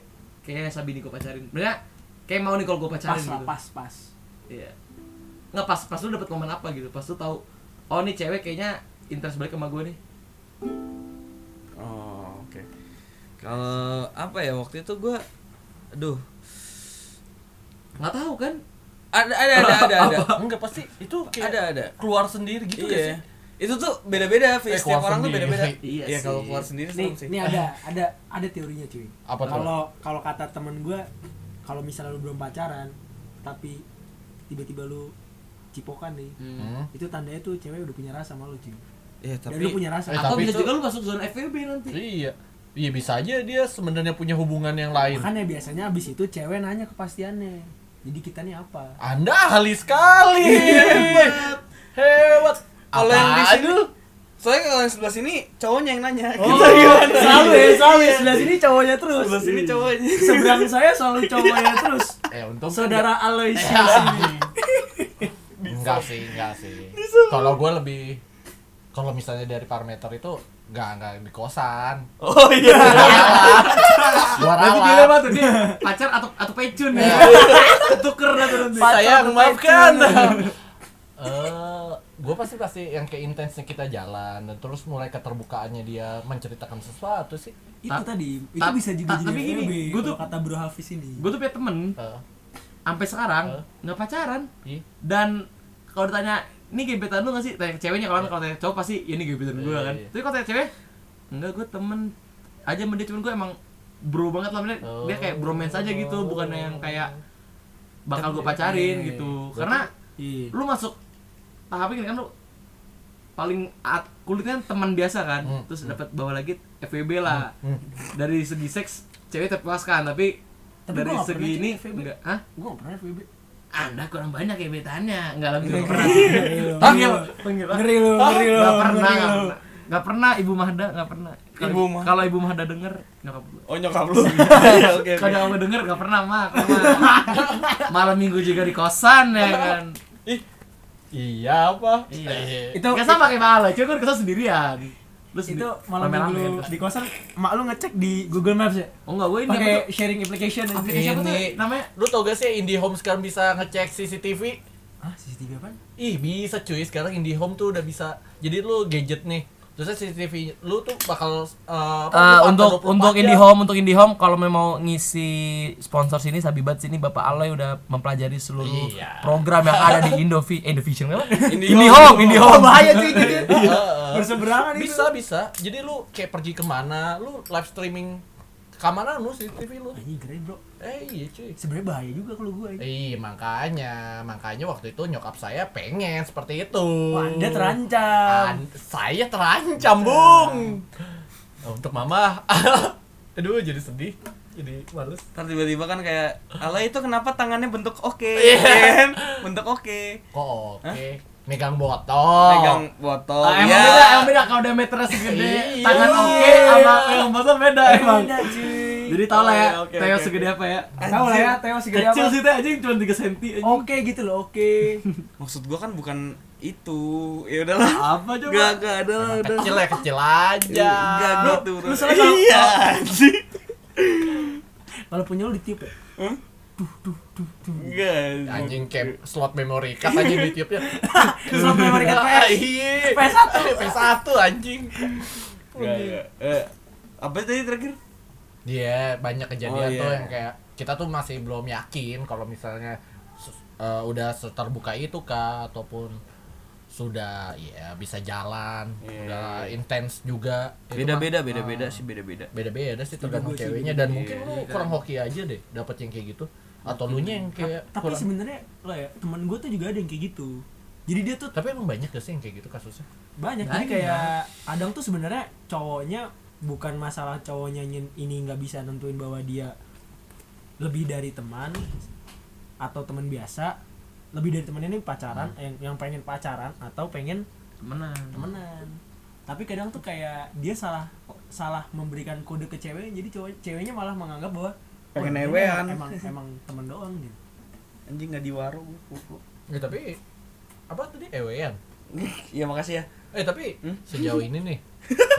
Speaker 5: kayaknya Sabini gua pacarin bener kayak mau nih kalau gua pacarin
Speaker 4: pas lah,
Speaker 5: gitu
Speaker 4: pas, pas.
Speaker 5: iya nggak pas pas lu dapet momen apa gitu pas lu tahu oh nih cewek kayaknya interest balik sama gua nih
Speaker 3: Oh, oke. Kalau apa ya waktu itu gua aduh.
Speaker 5: nggak tahu kan
Speaker 3: Ada ada ada ada ada.
Speaker 2: Oh, Enggak pasti itu kayak
Speaker 3: Ada ada.
Speaker 2: keluar sendiri gitu nggak
Speaker 3: Iya. Itu tuh beda-beda, Fis.
Speaker 2: Eh,
Speaker 3: Setiap
Speaker 2: keluar
Speaker 3: orang tuh
Speaker 2: sendiri.
Speaker 3: beda-beda.
Speaker 5: Iya
Speaker 3: Iya,
Speaker 5: sih.
Speaker 3: kalau keluar sendiri
Speaker 4: Nih,
Speaker 3: serem sih. Iya,
Speaker 4: nih ada ada ada teorinya cuy.
Speaker 2: Apa tuh?
Speaker 4: Kalau kalau kata temen gue, kalau misalnya lu belum pacaran, tapi tiba-tiba lu cipokan nih,
Speaker 5: Eh,
Speaker 2: Hmm.
Speaker 4: itu tandanya tuh cewek udah punya rasa sama lu cuy.
Speaker 3: Iya,
Speaker 4: Dan
Speaker 3: tapi
Speaker 4: lu punya rasa.
Speaker 2: Eh,
Speaker 5: atau
Speaker 2: tapi
Speaker 5: bisa
Speaker 2: itu-
Speaker 5: juga lu masuk zona FVB nanti
Speaker 2: Iya. Iya bisa aja dia sebenarnya punya hubungan yang lain.
Speaker 4: Makanya biasanya abis itu cewek nanya kepastiannya. Jadi kita nih apa?
Speaker 2: Anda ahli sekali. Hebat. Hebat.
Speaker 3: Kalau yang di
Speaker 2: Apaan
Speaker 3: sini-
Speaker 2: lu?
Speaker 3: soalnya kalau yang sebelah sini cowoknya yang nanya.
Speaker 4: Oh, selalu ya, selalu ya. Sebelah sini cowoknya terus.
Speaker 3: Sebelah sini cowoknya.
Speaker 4: Seberang saya selalu cowoknya terus.
Speaker 2: Eh, untung
Speaker 4: Saudara
Speaker 2: Ya.
Speaker 4: Aloysius ini.
Speaker 2: Enggak sih, enggak sih. Kalau gue lebih kalau misalnya dari parameter itu enggak enggak di kosan.
Speaker 3: Oh iya.
Speaker 2: Luar
Speaker 5: Berarti
Speaker 2: alam.
Speaker 5: dilema Iya, tuh dia pacar atau atau pecun
Speaker 2: Iya.
Speaker 5: ya. Ketuker lah tuh nanti.
Speaker 2: Saya maafkan.
Speaker 3: Iya,
Speaker 2: Eh, gue pasti pasti yang ke intensnya kita jalan dan terus mulai keterbukaannya dia menceritakan sesuatu sih.
Speaker 4: Itu
Speaker 5: Ta-
Speaker 4: tadi, itu
Speaker 5: ta-
Speaker 4: bisa juga
Speaker 5: ta-
Speaker 4: jadi
Speaker 5: tapi gini,
Speaker 4: FWB,
Speaker 5: gua
Speaker 4: kalau
Speaker 5: tuh-
Speaker 4: kata Bro Hafiz ini.
Speaker 5: Gue tuh punya temen
Speaker 2: Eh,
Speaker 5: sampai sekarang
Speaker 2: Huh?
Speaker 5: nggak pacaran
Speaker 2: ih,
Speaker 5: dan kalau ditanya ini gebetan lu nggak sih? Tanya ke ceweknya kalau kalau tanya cowok pasti ini gebetan gue
Speaker 2: Iya,
Speaker 5: kan.
Speaker 2: iya.
Speaker 5: Tapi kalau tanya cewek enggak gue temen aja sama dia cuman gue emang bro banget lah dia- dia kayak bromance aja gitu bukan yang kayak bakal gue
Speaker 4: Oh.
Speaker 5: pacarin
Speaker 4: Iya,
Speaker 5: gitu
Speaker 2: berarti-
Speaker 5: karena
Speaker 4: Iya.
Speaker 5: lu masuk tahap ini kan lu paling at, kulitnya teman biasa kan
Speaker 2: Hmm,
Speaker 5: terus
Speaker 2: hmm.
Speaker 5: dapat bawa lagi FWB lah
Speaker 2: hmm.
Speaker 5: dari segi seks cewek terpuaskan tapi,
Speaker 4: Tapi
Speaker 5: dari
Speaker 4: gua nggak
Speaker 5: segi
Speaker 4: pernah
Speaker 5: ini
Speaker 4: cewek FWB.
Speaker 5: enggak hah
Speaker 4: Gue gak pernah FWB.
Speaker 5: anda kurang banyak ya betannya enggak lebih
Speaker 4: Iya. Ngeri
Speaker 5: pernah
Speaker 4: lu, ngeri
Speaker 5: panggil
Speaker 4: lu.
Speaker 5: panggil
Speaker 4: Ngeri lu, ngeri lu.
Speaker 5: nggak pernah
Speaker 4: ngeri
Speaker 5: nggak
Speaker 4: lu.
Speaker 5: pernah nggak pernah ibu Mahda nggak pernah Kalau-
Speaker 3: Ibu Mahda.
Speaker 5: kalau ibu Mahda denger nyokap gue
Speaker 3: Oh nyokap lu. Iya, Oke. oke.
Speaker 5: kalau nggak denger nggak pernah mak Mak. malam minggu juga di kosan ya kan
Speaker 2: Iya apa?
Speaker 5: Iya.
Speaker 2: Eh,
Speaker 4: Itu
Speaker 5: Gak sama kayak Bala, cuma gue kesel sendirian Terus
Speaker 4: itu malam minggu di kosan, mak lu ngecek di Google Maps ya?
Speaker 5: Oh enggak, gue ini apa
Speaker 4: Pakai
Speaker 5: tuh?
Speaker 4: sharing application.
Speaker 5: Aplikasi apa tuh
Speaker 2: Ini-
Speaker 5: namanya?
Speaker 2: Lu tau gak sih IndiHome sekarang bisa ngecek CCTV?
Speaker 4: Ah, CCTV apaan?
Speaker 2: Ih bisa cuy sekarang IndiHome tuh udah bisa. Jadi lu gadget nih. Terus CCTV lu tuh bakal eh, apa,
Speaker 5: Eh,
Speaker 2: lu
Speaker 5: untuk
Speaker 2: pantau 24
Speaker 5: untuk
Speaker 2: jam.
Speaker 5: IndiHome untuk IndiHome kalau memang mau ngisi sponsor sini Sabibat sini Bapak Aloy udah mempelajari seluruh
Speaker 2: Iya.
Speaker 5: program yang ada di Indovi eh, Indovision apa?
Speaker 3: Indihome.
Speaker 5: IndiHome IndiHome bahaya gitu. cuy Iya.
Speaker 2: Heeh.
Speaker 4: Berseberangan itu.
Speaker 2: Iya. Eh, bisa bisa jadi lu kayak pergi kemana lu live streaming kemana lu CCTV lu
Speaker 4: Anjing Ah, keren, Bro.
Speaker 2: eh iya cuy
Speaker 4: Sebenarnya bahaya juga kalau gue.
Speaker 2: Iya makanya, makanya waktu itu nyokap saya pengen seperti itu.
Speaker 4: Wah, Anda terancam.
Speaker 2: An- saya terancam, Bung. Nah, untuk Mama, aduh jadi sedih, jadi males.
Speaker 3: Ntar tiba-tiba kan kayak ala itu kenapa tangannya bentuk oke
Speaker 2: Iya.
Speaker 3: kan? bentuk oke
Speaker 2: Kok oke,
Speaker 3: Hah?
Speaker 2: megang botol.
Speaker 3: megang botol
Speaker 5: Ah, emang
Speaker 3: ya.
Speaker 5: beda emang beda kalau udah meteran segede
Speaker 2: Iya.
Speaker 5: tangan oke sama yang botol beda emang
Speaker 4: Beda, cuy.
Speaker 5: jadi tau lah ya
Speaker 3: Oh, oke, oke,
Speaker 5: Teo
Speaker 3: oke.
Speaker 5: segede apa ya
Speaker 4: Tahu lah ya, Teo segede
Speaker 5: kecil
Speaker 4: apa.
Speaker 5: sih Teo Oh. anjing cuma 3 cm anjing
Speaker 4: Oke gitu loh, oke.
Speaker 3: maksud gua kan bukan itu ya udahlah
Speaker 4: Ah,
Speaker 5: apa coba
Speaker 3: gak gak ada lah
Speaker 2: Emang
Speaker 3: udah
Speaker 2: kecil ya kecil aja.
Speaker 3: gak gitu
Speaker 4: lu
Speaker 3: bro.
Speaker 4: salah kalau-
Speaker 3: iya anjing
Speaker 4: Kalau punya lu ditiup ya.
Speaker 3: Gak, anjing.
Speaker 2: Anjing kayak slot memory card aja di tiupnya.
Speaker 4: Terus sampai mereka
Speaker 2: Ah, Iya. PS1, PS1 anjing.
Speaker 3: Gak, gak. Eh, apa tadi terakhir
Speaker 2: Dia banyak
Speaker 3: Oh,
Speaker 2: kejadian
Speaker 3: iya.
Speaker 2: tuh yang kayak kita tuh masih belum yakin kalau misalnya sus- eh, udah terbuka itu kah ataupun sudah ya bisa jalan,
Speaker 3: Iya.
Speaker 2: udah intens juga. Itu
Speaker 3: beda
Speaker 2: mah,
Speaker 3: beda beda
Speaker 2: ah,
Speaker 3: beda sih beda beda
Speaker 2: Beda-beda sih tergantung ceweknya dan mungkin
Speaker 3: Iya.
Speaker 2: lu kurang hoki aja deh dapet yang kayak gitu atau lu nya yang kayak
Speaker 4: tapi
Speaker 2: kurang-
Speaker 4: sebenarnya lo ya teman gue tuh juga ada yang kayak gitu jadi dia tuh
Speaker 2: tapi emang banyak gak sih yang kayak gitu kasusnya?
Speaker 4: banyak jadi
Speaker 5: Banyak.
Speaker 4: kayak kadang tuh sebenarnya cowoknya bukan masalah cowoknya nyin- ini nggak bisa nentuin bahwa dia lebih dari teman atau teman biasa lebih dari teman ini pacaran yang yang pengen pacaran atau pengen
Speaker 5: temenan
Speaker 4: temenan tapi kadang tuh kayak dia salah salah memberikan kode ke cewek jadi cowok ceweknya malah menganggap bahwa
Speaker 3: Pengen
Speaker 4: "Wah, ini
Speaker 3: ewean."
Speaker 4: emang emang temen doang gitu
Speaker 3: anjing nggak di warung
Speaker 2: Ya tapi apa tadi ewean?
Speaker 3: ya makasih ya
Speaker 2: Eh tapi
Speaker 3: Hmm?
Speaker 2: sejauh ini nih,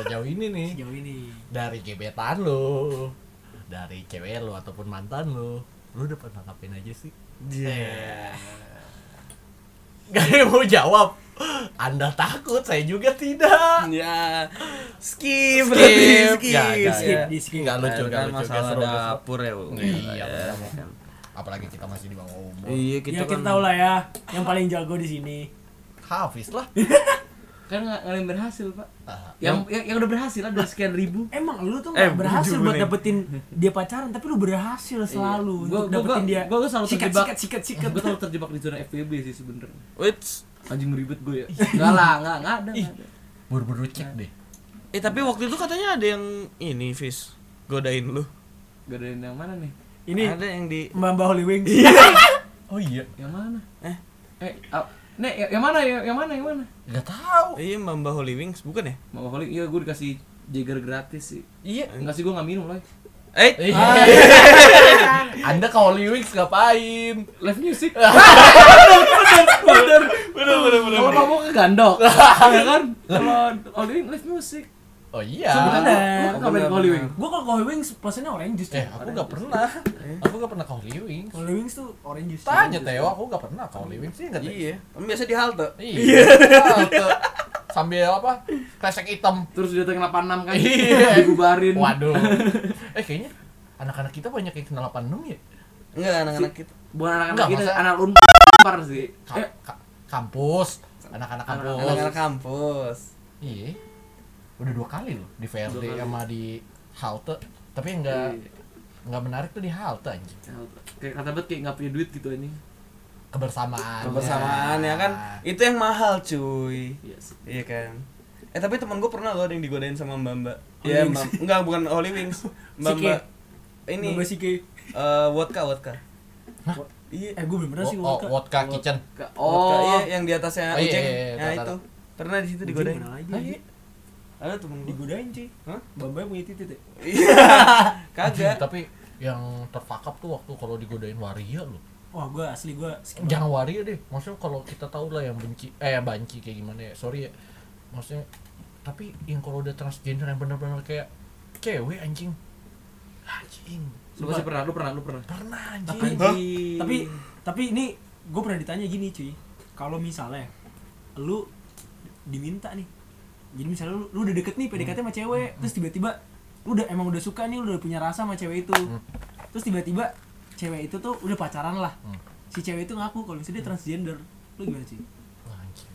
Speaker 2: sejauh ini nih
Speaker 4: sejauh ini
Speaker 2: dari gebetan lu, dari cewek lu ataupun mantan lu, lu dapat nangkapin aja sih.
Speaker 3: yeah.
Speaker 2: Gak ada yang mau jawab. Anda takut, saya juga tidak.
Speaker 3: ya skip
Speaker 2: Skip. Ya, ya,
Speaker 4: skip
Speaker 3: skip
Speaker 4: di skip
Speaker 2: Nggak lucu, nggak
Speaker 3: kan
Speaker 2: lucu. nggak
Speaker 3: masalah
Speaker 2: seru, nggak seru.
Speaker 3: dapur ya Bu.
Speaker 2: Iya, benar. Apalagi kita masih di bawah umur.
Speaker 3: iya
Speaker 4: ya
Speaker 3: kita
Speaker 4: kita
Speaker 3: kan
Speaker 4: tahu lah ya yang paling jago di sini
Speaker 2: Hafiz lah.
Speaker 5: kan nggak nggak ada yang berhasil pak
Speaker 2: Ah,
Speaker 5: yang yang, yang udah berhasil ada sekian ribu
Speaker 4: emang lu tuh
Speaker 3: Eh,
Speaker 4: nggak berhasil
Speaker 3: jujur
Speaker 4: buat
Speaker 3: nih.
Speaker 4: dapetin dia pacaran tapi lu berhasil selalu untuk
Speaker 5: Iya. Gua- gua-
Speaker 4: dapetin
Speaker 5: gua-
Speaker 4: dia
Speaker 5: gua- gua selalu
Speaker 4: sikat,
Speaker 5: terjebak.
Speaker 4: sikat sikat sikat
Speaker 5: gue terlalu terjebak di zona FPB sih sebenernya
Speaker 3: Wits.
Speaker 5: anjing ribet gue ya nggak lah nggak nggak ada, nggak ada.
Speaker 2: Buru-buru cek deh.
Speaker 3: eh tapi waktu itu katanya ada yang ini Fis godain lu
Speaker 5: Gak ada yang mana nih
Speaker 4: ini
Speaker 3: ada yang di
Speaker 4: mbak mbak Holy Wings
Speaker 2: Oh iya.
Speaker 5: yang mana
Speaker 3: Eh.
Speaker 5: eh ah, Nek, yang- yang mana ya, yang, yang mana yang mana
Speaker 2: Gak tahu.
Speaker 3: iya Mbak Mbak Holy Wings bukan ya
Speaker 5: mau holik iya gue dikasih Jager gratis sih
Speaker 3: iya
Speaker 5: Enggak sih gue nggak minum lah
Speaker 3: eh
Speaker 2: Iya. Ah. Anda kalau Liwix ngapain?
Speaker 5: live music kalau kamu ke gandok ya kan kalau Oliwing live music
Speaker 2: Oh iya.
Speaker 4: Bener.
Speaker 5: sebenarnya kamu ke Oliwing
Speaker 4: gue kalau ke Holy Wings pesannya orange juice
Speaker 2: Eh,
Speaker 4: tuh.
Speaker 2: aku gak pernah. Aku gak pernah kau Liwing.
Speaker 4: Holy Wings tuh orange juice
Speaker 2: Tanya Teo, aku gak pernah kau Liwing sih enggak.
Speaker 3: iya kan biasa di halte
Speaker 2: Iya. Halte. Sambil apa? Kresek hitam.
Speaker 5: terus dia tengah 86 kan
Speaker 2: Iya.
Speaker 5: dibubarin
Speaker 2: Waduh. Eh kayaknya anak-anak kita banyak yang kenal 86 ya?
Speaker 3: enggak anak-anak kita
Speaker 5: bukan
Speaker 2: Enggak,
Speaker 5: anak-anak kita
Speaker 2: masa-
Speaker 5: anak unpar sih
Speaker 2: Ka- ka- kampus, anak-anak kampus.
Speaker 3: anak-anak kampus
Speaker 2: Iya. Udah dua kali loh di VRD sama di halte. Tapi enggak enggak menarik tuh di halte anjing.
Speaker 5: kayak kata banget kayak nggak punya duit gitu anjing
Speaker 2: Kebersamaan.
Speaker 3: kebersamaan ya kan itu yang mahal cuy
Speaker 5: iya sih
Speaker 3: Iya kan. Eh tapi teman gue pernah loh ada yang digodain sama Mbak Mbak. Iya, Mbak. Enggak, bukan Holy Wings. Mbak Mbak. Ini
Speaker 4: ini gue sih kayak
Speaker 3: eh vodka vodka. Iya.
Speaker 4: eh gue belum pernah sih
Speaker 2: Oh,
Speaker 4: vodka.
Speaker 2: vodka kitchen.
Speaker 5: Ke-
Speaker 3: Vodka, iya,
Speaker 5: oh
Speaker 3: yang di atasnya
Speaker 2: Oh, iya,
Speaker 3: Uceng.
Speaker 2: iya, iya,
Speaker 3: Nah,
Speaker 2: tahu,
Speaker 3: itu.
Speaker 2: tahu.
Speaker 3: Pernah di situ
Speaker 4: Ujung
Speaker 3: digodain.
Speaker 4: kenal aja.
Speaker 3: Ah, iya. Ada temen gue.
Speaker 4: digodain cuy
Speaker 3: Hah?
Speaker 4: bambang punya titik ya
Speaker 3: Iya. Kagak.
Speaker 2: Tapi yang terfakap tuh waktu kalau digodain waria loh.
Speaker 4: wah gue asli gue skip
Speaker 2: jangan waria deh maksudnya kalau kita tahu lah yang benci eh yang banci kayak gimana ya sorry ya maksudnya tapi yang kalau udah transgender yang benar-benar kayak cewek anjing anjing
Speaker 5: lu pasti pernah lu pernah lu pernah
Speaker 2: pernah
Speaker 4: tapi
Speaker 2: anjing
Speaker 4: tapi tapi ini gue pernah ditanya gini cuy kalau misalnya lu diminta nih jadi misalnya lu, lu udah deket nih PDKT sama cewek
Speaker 2: Hmm.
Speaker 4: terus tiba-tiba lu udah emang udah suka nih lu udah punya rasa sama cewek itu
Speaker 2: Hmm.
Speaker 4: terus tiba-tiba cewek itu tuh udah pacaran lah
Speaker 2: Hmm.
Speaker 4: si cewek itu ngaku kalau misalnya dia transgender lu gimana sih
Speaker 2: Wah, anjing.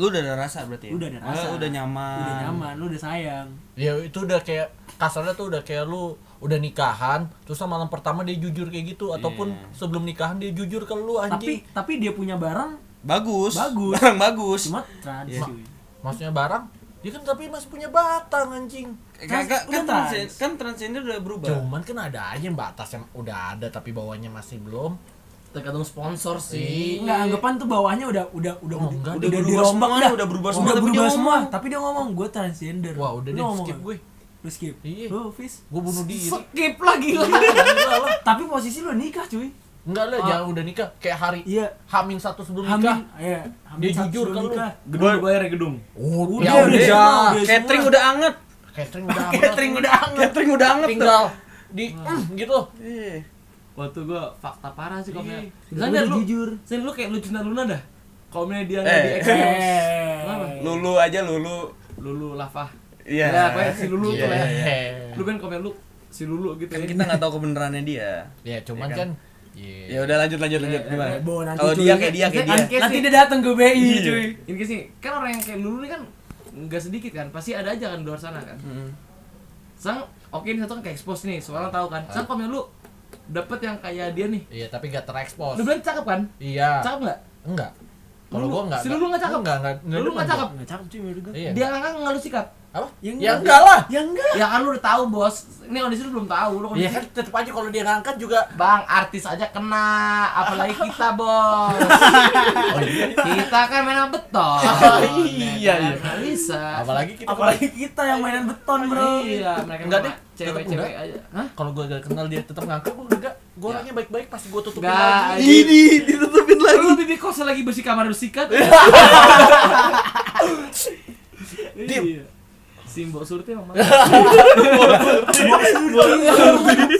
Speaker 3: Lu udah ada rasa berarti ya?
Speaker 4: Udah ada rasa.
Speaker 3: Oh, udah nyaman.
Speaker 4: udah nyaman lu udah sayang
Speaker 2: ya itu udah kayak kasarnya tuh udah kayak lu udah nikahan terus sama malam pertama dia jujur kayak gitu ataupun sebelum nikahan dia jujur ke lu
Speaker 4: tapi
Speaker 2: anjing
Speaker 4: tapi dia punya barang
Speaker 3: Bagus.
Speaker 4: Bagus.
Speaker 3: Barang bagus.
Speaker 4: cuma trans
Speaker 3: Iya.
Speaker 4: cuy.
Speaker 2: maksudnya barang dia kan tapi masih punya batang anjing
Speaker 3: Kagak
Speaker 4: Udah
Speaker 3: kan
Speaker 4: trans.
Speaker 3: transgen- kan transgender udah berubah.
Speaker 2: cuman kan ada aja yang batas yang udah ada tapi bawahnya masih belum
Speaker 5: tergantung sponsor sih
Speaker 4: Enggak anggapan tuh bawahnya udah udah udah
Speaker 2: Iya. Oh, enggak,
Speaker 3: udah berubah
Speaker 4: dirombak
Speaker 3: semua nih, udah berubah semua,
Speaker 4: Oh, udah
Speaker 3: tapi dia
Speaker 4: berubah
Speaker 3: ngomong.
Speaker 4: semua tapi dia ngomong gue transgender
Speaker 2: wah udah
Speaker 4: Lu
Speaker 2: deh
Speaker 4: ngomong
Speaker 2: skip
Speaker 4: nggak?
Speaker 2: gue
Speaker 4: lu skip
Speaker 2: Iya.
Speaker 4: lu fis Iya,
Speaker 2: gue bunuh diri Iya.
Speaker 5: skip lagi lah gila.
Speaker 4: tapi posisi lu nikah cuy
Speaker 2: enggak lah jangan udah nikah kayak hari
Speaker 4: iya
Speaker 2: hamin satu sebelum
Speaker 4: hamil
Speaker 2: nikah
Speaker 4: iya
Speaker 2: Dia jujur kan lu.
Speaker 5: gedung udah bayar ya gedung
Speaker 2: oh,
Speaker 4: Udah,
Speaker 2: ya
Speaker 4: udah
Speaker 2: udah,
Speaker 4: semua, udah
Speaker 3: Ah, Catering
Speaker 4: semua.
Speaker 3: udah anget.
Speaker 2: catering udah amat.
Speaker 3: Catering udah anget. Catering udah anget. tuh.
Speaker 2: tinggal di mm, gitu
Speaker 3: Iya.
Speaker 5: waktu gue fakta parah sih kalau
Speaker 2: Iya.
Speaker 5: misalnya
Speaker 4: Udah
Speaker 5: lu
Speaker 4: jujur.
Speaker 5: misalnya lu kayak Lucinta Luna dah kalau misalnya dia
Speaker 3: Eh.
Speaker 5: nggak di expose Kenapa?
Speaker 4: eh
Speaker 3: Lulu aja Lulu.
Speaker 5: lulu lava
Speaker 3: Iya.
Speaker 5: ya kayak si lulu tuh
Speaker 2: ya
Speaker 5: lah lu kan komen lu si lulu gitu
Speaker 3: Kan
Speaker 5: ya
Speaker 3: kita nggak tahu kebenarannya dia.
Speaker 2: ya cuman
Speaker 3: Iya
Speaker 2: kan
Speaker 3: kan?
Speaker 2: Iya.
Speaker 3: Ya udah lanjut lanjut lanjut gimana?
Speaker 4: eh, Bo, nanti
Speaker 3: Kalau
Speaker 4: cuy.
Speaker 3: dia kayak dia kayak dia.
Speaker 5: Nanti- Case
Speaker 4: Nanti
Speaker 5: nih.
Speaker 4: dia datang ke BI
Speaker 5: Iya
Speaker 4: cuy.
Speaker 5: cuy. Ini sih kan orang yang kayak dulu nih kan nggak sedikit kan, pasti ada aja kan di luar sana kan.
Speaker 3: Hmm.
Speaker 5: Sang oke ini satu kan kayak expose nih, soalnya tahu
Speaker 2: Ah.
Speaker 5: kan. Sang komen lu dapet yang kayak dia nih.
Speaker 2: Iya, tapi gak terekspos.
Speaker 5: Lu bilang cakep kan?
Speaker 2: Iya.
Speaker 5: Cakep nggak?
Speaker 2: Enggak. Kalau
Speaker 5: Lu-
Speaker 2: gua enggak.
Speaker 5: si lu nggak cakep?
Speaker 2: Enggak, enggak.
Speaker 5: Lu nggak cakep?
Speaker 4: Nggak cakep cuy menurut gue.
Speaker 2: Iya.
Speaker 5: Dia kan nggak nggak lu sikat.
Speaker 2: apa? Ya
Speaker 4: Ya enggak.
Speaker 2: enggak lah.
Speaker 4: Ya enggak.
Speaker 5: Ya kan lu udah tahu bos. Ini kondisi lu belum tahu. Lu
Speaker 2: Iya
Speaker 5: kondisi
Speaker 2: kan tetep aja kalau dia ngangkat juga
Speaker 5: Bang, artis aja kena, apalagi kita, Bos. kita kan mainan beton.
Speaker 2: Oh, iya,
Speaker 5: ya kan?
Speaker 2: iya.
Speaker 5: Nggak bisa.
Speaker 2: apalagi kita
Speaker 4: Apalagi kita yang mainan beton bro.
Speaker 5: Iya, mereka
Speaker 2: Enggak
Speaker 5: mah
Speaker 2: deh, tetep
Speaker 5: cewek-cewek
Speaker 2: enggak.
Speaker 5: aja. Hah?
Speaker 2: kalau gue gak kenal dia tetap ngangkat gue enggak gue orangnya baik-baik pasti gue tutupin
Speaker 5: Enggak,
Speaker 2: lagi
Speaker 5: anjing.
Speaker 3: Ini ditutupin lagi.
Speaker 5: Lu bibi kos lagi bersih kan? kamar bersikat.
Speaker 2: Iya.
Speaker 5: Dim. Simbol Iya. surti emang mana? Iya.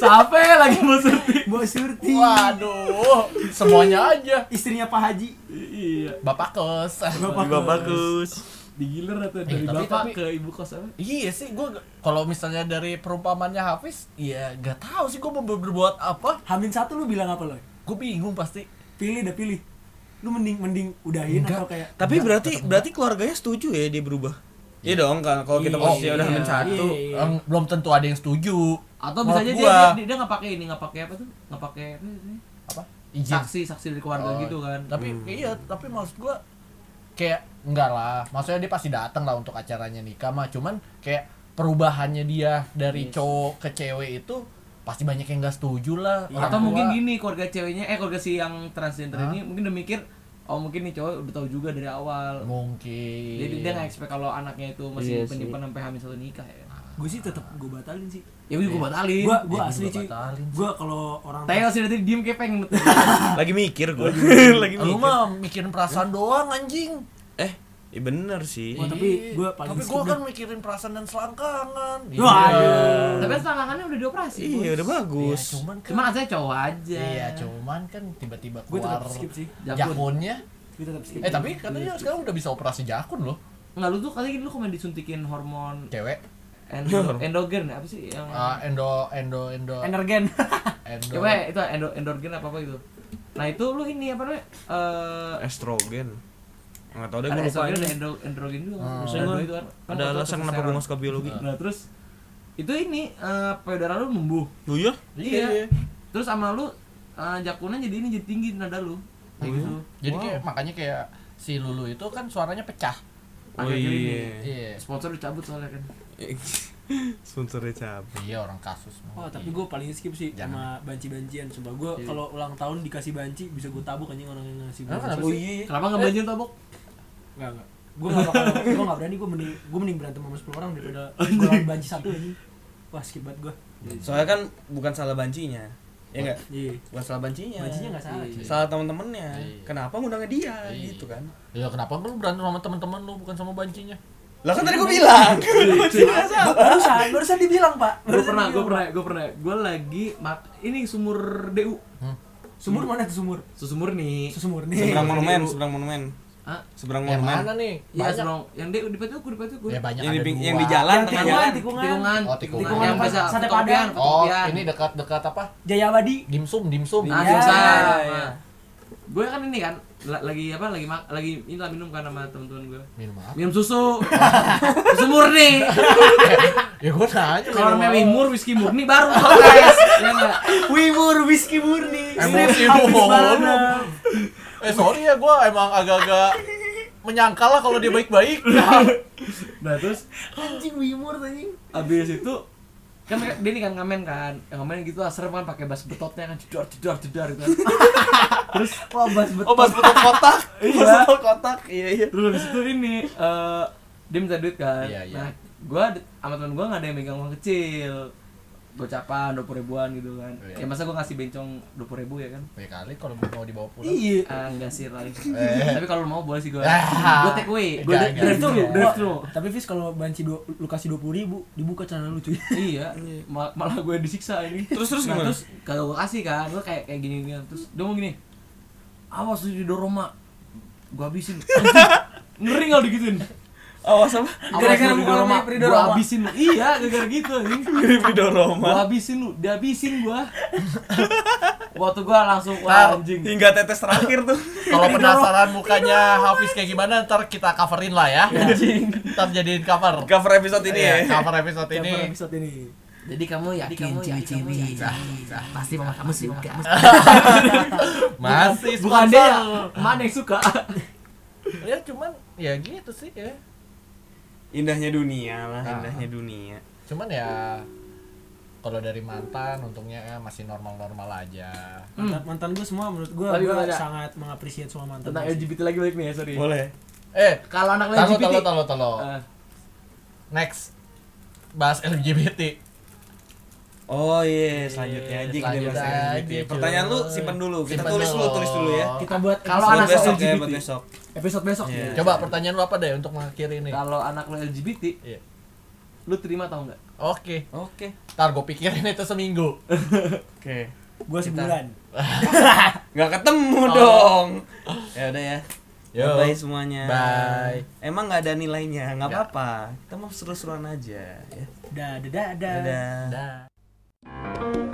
Speaker 5: Sampai lagi mau surti.
Speaker 4: Bo Surti.
Speaker 2: waduh semuanya aja
Speaker 4: Istrinya Pak Haji.
Speaker 5: Iya.
Speaker 2: bapak kos
Speaker 3: Juga bagus.
Speaker 5: Digilir atau
Speaker 2: Eh,
Speaker 5: dari
Speaker 2: tapi-
Speaker 5: bapak
Speaker 2: tapi-
Speaker 5: ke ibu kos apa?
Speaker 2: iya sih gue kalau misalnya dari perumpamannya Hafiz ya gak tahu sih gue mau ber- berbuat apa
Speaker 4: Hamin satu lu bilang apa lo?
Speaker 2: gue bingung pasti
Speaker 4: Pilih dah pilih. Lu mending mending udahin
Speaker 2: Enggak.
Speaker 4: atau kayak
Speaker 3: Tapi berarti berarti keluarganya setuju ya dia berubah. Iya dong kan kalau kita
Speaker 2: Iya.
Speaker 3: posisinya udah
Speaker 2: Iya.
Speaker 3: hamil satu.
Speaker 4: Iya, iya.
Speaker 2: Em, belum tentu ada yang setuju
Speaker 5: Atau
Speaker 2: Menurut
Speaker 5: bisa aja dia
Speaker 2: gua.
Speaker 5: dia dia nggak pakai ini, nggak pakai apa tuh? Nggak pakai apa sih?
Speaker 2: apa izin
Speaker 5: saksi saksi dari keluarga
Speaker 2: Oh,
Speaker 5: gitu kan.
Speaker 2: tapi iya tapi maksud gua kayak enggak lah maksudnya dia pasti datang lah untuk acaranya nikah mah cuman kayak perubahannya dia dari cowok ke cewek itu pasti banyak yang nggak setuju lah
Speaker 4: Iya.
Speaker 2: orang
Speaker 5: Atau
Speaker 2: tua.
Speaker 5: mungkin gini keluarga ceweknya eh keluarga si yang transgender
Speaker 2: Hah?
Speaker 5: ini mungkin udah mikir oh mungkin nih cowok udah tahu juga dari awal.
Speaker 2: mungkin
Speaker 5: Jadi dia nggak expect kalau anaknya itu masih
Speaker 3: Iya sih.
Speaker 5: penyimpan sampai hamil satu nikah ya.
Speaker 4: gue sih tetap gue batalin sih.
Speaker 5: Ya udah gue batalin.
Speaker 4: Gue gue
Speaker 2: Ya,
Speaker 4: asli
Speaker 2: Iya. gua
Speaker 4: cuy.
Speaker 2: batalin sih.
Speaker 4: Gue kalau orang
Speaker 5: Tayo sih dari tadi diem kayak pengen
Speaker 2: Iya.
Speaker 3: Lagi mikir gue. Lagi
Speaker 4: gitu.
Speaker 2: lu
Speaker 3: mikir.
Speaker 2: mah mikirin perasaan doang anjing
Speaker 3: Eh, iya bener sih.
Speaker 4: Iya. Wah, tapi
Speaker 2: Ih,
Speaker 4: gua paling
Speaker 2: tapi
Speaker 4: skip
Speaker 2: gua
Speaker 4: Iya. dah.
Speaker 2: kan mikirin perasaan dan selangkangan
Speaker 4: Wah, aduh.
Speaker 5: Tapi selangkangannya udah dioperasi.
Speaker 3: Iya
Speaker 5: Bos.
Speaker 3: udah
Speaker 2: Iya,
Speaker 3: bagus.
Speaker 2: cuman kan
Speaker 5: Cuman asalnya cowok aja.
Speaker 2: iya cuman kan tiba-tiba
Speaker 4: Gua tetap
Speaker 2: keluar
Speaker 4: skip sih.
Speaker 5: Jakun.
Speaker 2: jakunnya
Speaker 4: gue tetap skip.
Speaker 2: eh tapi katanya sekarang udah bisa operasi jakun loh
Speaker 5: Enggak lu tuh kali ini lu komen disuntikin hormon
Speaker 2: cewek
Speaker 5: endo, endogen apa sih yang
Speaker 2: Ah, endo endo endo
Speaker 5: energen.
Speaker 2: endo
Speaker 5: Coba ya, itu endo, endorgen apa apa gitu. Nah itu lu ini apa namanya? Eh
Speaker 3: Estrogen. Enggak tahu deh
Speaker 5: ada ya?
Speaker 3: gue lupa.
Speaker 5: estrogen
Speaker 3: ini.
Speaker 5: ada endo, endorgen juga.
Speaker 2: Hmm.
Speaker 5: Maksudnya
Speaker 3: Ada.
Speaker 5: gua itu kan. kan
Speaker 3: Ada
Speaker 5: waktu itu
Speaker 3: alasan kenapa gue
Speaker 5: testosteron.
Speaker 3: nggak suka biologi?
Speaker 5: Nah terus itu ini eh payudara lu numbuh.
Speaker 3: Lu ya?
Speaker 5: Iya. Terus sama lu eh, jakunnya jadi ini jadi tinggi nada lu. Kayak gitu.
Speaker 2: Jadi kayak makanya kayak si Lulu itu kan suaranya pecah.
Speaker 3: Oh
Speaker 5: Akhir-akhir ini.
Speaker 3: iya.
Speaker 2: Iya.
Speaker 5: Sponsor dicabut soalnya kan.
Speaker 3: Sponsornya cabut.
Speaker 2: Iya orang kasus.
Speaker 4: Oh tapi gue paling skip sih sama
Speaker 2: Jangan. Iya.
Speaker 4: banci-bancian Sumpah gue kalau ulang tahun dikasih banci bisa gue tabuk anjing orang yang ngasih
Speaker 2: Emang
Speaker 4: banci
Speaker 2: kenapa
Speaker 3: Oh
Speaker 4: Gue-
Speaker 3: iya,
Speaker 2: sih?
Speaker 5: Kenapa nggak banjir tabok?
Speaker 4: Enggak enggak Gue gak bakal Gue gak berani Gue mending, gue mending berantem sama 10 orang daripada gue lawan banci satu anjing Wah skip banget gue
Speaker 3: Soalnya kan bukan salah bancinya. Ya enggak?
Speaker 4: Iya
Speaker 3: Bukan salah bancinya.
Speaker 4: Bancinya gak salah
Speaker 2: Iya.
Speaker 4: cuy
Speaker 3: Salah teman-temannya.
Speaker 2: Iya.
Speaker 3: Kenapa ngundangnya dia
Speaker 2: Iya.
Speaker 3: gitu kan?
Speaker 2: Ya kenapa lu berantem sama teman-teman lu bukan sama bancinya?
Speaker 3: Lah kan tadi gue bilang.
Speaker 2: Iya,
Speaker 3: Iya,
Speaker 4: Barusan, barusan dibilang pak
Speaker 5: Gue
Speaker 4: Barusan
Speaker 5: pernah, gue
Speaker 4: dibilang,
Speaker 5: pernah, gue pernah. Gue lagi mak ini sumur DU,
Speaker 2: Hmm.
Speaker 4: Pak. Sumur mana tuh sumur?
Speaker 5: susumur nih.
Speaker 4: Susumur nih
Speaker 3: seberang monumen, seberang monumen.
Speaker 5: Hah?
Speaker 3: Seberang
Speaker 2: Yang mana
Speaker 3: monumen.
Speaker 2: nih?
Speaker 5: Iya,
Speaker 2: Banyak.
Speaker 5: dong. Yang DU di Patuku, di Patuku.
Speaker 2: Ya banyak
Speaker 3: Yang di
Speaker 2: ada
Speaker 3: ping-
Speaker 2: dua.
Speaker 3: yang di jalan
Speaker 4: Yang
Speaker 3: tengah
Speaker 4: tikungan,
Speaker 3: jalan.
Speaker 4: tikungan.
Speaker 5: tikungan,
Speaker 2: Oh, tikungan.
Speaker 5: yang
Speaker 2: Tikungan
Speaker 5: biasa
Speaker 4: pas sate
Speaker 5: fotokopian,
Speaker 4: padang.
Speaker 2: Oh,
Speaker 5: fotokopian.
Speaker 2: ini dekat-dekat apa?
Speaker 4: Jayawadi
Speaker 2: Dimsum, dimsum.
Speaker 5: iya. Ah,
Speaker 4: Iya.
Speaker 5: susah. Ah.
Speaker 3: Iya.
Speaker 5: Gue kan ini kan la- lagi apa lagi mak- lagi ini lah minum kan sama teman-teman gue.
Speaker 2: Minum apa?
Speaker 5: Minum susu. susu murni.
Speaker 2: ya gua nanya.
Speaker 5: Kalau
Speaker 2: minum apa.
Speaker 5: namanya Wimur, whisky murni baru podcast. Ya enggak?
Speaker 4: Wimur, whisky murni
Speaker 2: Emosi
Speaker 4: Strip habis
Speaker 2: mulu.
Speaker 4: mana?
Speaker 2: Eh sorry ya gua emang agak-agak menyangkal lah kalau dia baik-baik.
Speaker 5: Nah, terus
Speaker 4: Anjing Wimur anjing
Speaker 5: abis itu kan mereka- dia nih kan ngamen kan yang ngamen gitu lah serem kan pakai bas betotnya kan jedor jedor jedor gitu kan terus
Speaker 4: Wah bas betul
Speaker 3: Oh, pas putar kotak. Pas putar kotak. Iya, iya.
Speaker 5: terus abis itu ini eh dia minta duit kan
Speaker 2: Iya, iya.
Speaker 5: nah gua d- sama temen gua nggak ada yang megang uang kecil gocapan dua puluh ribuan gitu kan
Speaker 2: Iya.
Speaker 5: ya masa gua ngasih bencong dua puluh ribu ya kan
Speaker 2: Ya kali kalau mau dibawa pulang.
Speaker 4: Iya
Speaker 5: Ah, enggak sih lagi
Speaker 2: Eh.
Speaker 5: tapi kalau lu mau boleh sih gua
Speaker 2: Ah.
Speaker 5: gua take away gua
Speaker 2: Enggak,
Speaker 5: drive thru
Speaker 2: enggak.
Speaker 5: drive
Speaker 3: Oh.
Speaker 5: thru
Speaker 4: Tapi Fis kalau banci dua, lu kasih 20 ribu Dibuka channel lu cuy
Speaker 5: iya mal- malah gue disiksa ini
Speaker 3: Terus, terus
Speaker 5: Nah,
Speaker 3: gimana?
Speaker 5: terus kalau gue kasih kan gue kayak kayak gini gini terus dia mau gini awas lu di Roma gue habisin ngeri nggak digituin
Speaker 3: Awas apa?
Speaker 4: Gara-gara
Speaker 5: lu di
Speaker 4: muka lu
Speaker 5: Roma
Speaker 4: mirip Ridho
Speaker 5: gue
Speaker 4: Roma.
Speaker 5: habisin lu iya gara-gara gitu
Speaker 3: Mirip Ridho
Speaker 5: gue
Speaker 3: Roma.
Speaker 5: habisin lu dia habisin gue waktu gua langsung
Speaker 2: Tar.
Speaker 5: wah anjing
Speaker 3: Hingga tetes terakhir tuh.
Speaker 2: Kalau penasaran mukanya Hafiz kayak gimana ntar kita coverin lah ya. Ntar jadiin cover.
Speaker 3: Cover episode ini
Speaker 2: Iya,
Speaker 3: ya.
Speaker 2: cover episode ini.
Speaker 4: Cover episode ini.
Speaker 5: jadi kamu yakin ciwi-ciwi pasti mama kamu suka
Speaker 2: Masih
Speaker 5: bukan dia
Speaker 2: sponsor.
Speaker 5: yang mana yang suka
Speaker 2: Ya cuman ya gitu sih ya.
Speaker 3: Indahnya dunia lah,
Speaker 2: Ah.
Speaker 3: indahnya dunia.
Speaker 2: Cuman ya kalau dari mantan untungnya ya masih normal-normal aja.
Speaker 4: Mantan, mantan gue semua menurut gue
Speaker 5: Tapi
Speaker 4: gue
Speaker 5: gimana?
Speaker 4: sangat mengapresiasi semua mantan.
Speaker 5: tentang
Speaker 4: gua sih.
Speaker 5: LGBT lagi balik nih ya sorry
Speaker 3: Boleh.
Speaker 2: Eh,
Speaker 5: kalau anak
Speaker 2: talo
Speaker 5: LGBT
Speaker 2: talo talo talo.
Speaker 5: eh,
Speaker 2: Next bahas LGBT.
Speaker 3: Oh iya, selanjutnya aja kita
Speaker 2: Lanjut
Speaker 3: bahas
Speaker 2: aja,
Speaker 3: LGBT.
Speaker 2: cuy.
Speaker 3: Pertanyaan lu simpen dulu. Kita
Speaker 2: Simpen
Speaker 3: tulis dulu, tulis dulu ya.
Speaker 4: Kita buat
Speaker 5: Kalau
Speaker 3: Buat
Speaker 4: episode
Speaker 5: anak
Speaker 3: besok
Speaker 4: besok.
Speaker 3: ya,
Speaker 5: LGBT.
Speaker 3: buat besok.
Speaker 4: episode besok.
Speaker 3: Iya.
Speaker 4: ya.
Speaker 2: Coba pertanyaan lu apa deh untuk mengakhiri ini?
Speaker 5: kalau anak lo LGBT
Speaker 2: Iya.
Speaker 5: lu terima tau nggak
Speaker 2: Oke,
Speaker 3: Oke.
Speaker 2: ntar gue pikirin itu seminggu.
Speaker 3: Oke.
Speaker 4: Gue sebulan.
Speaker 3: Nggak ketemu dong. Oh. Ya udah ya.
Speaker 2: Yo.
Speaker 3: Bye semuanya.
Speaker 2: Bye.
Speaker 3: Emang nggak ada nilainya, nggak
Speaker 2: Nggak.
Speaker 3: apa-apa. Kita mau seru-seruan aja. Ya.
Speaker 4: Dadah dadah.
Speaker 3: Dadah.
Speaker 2: Dah.
Speaker 5: Dadah.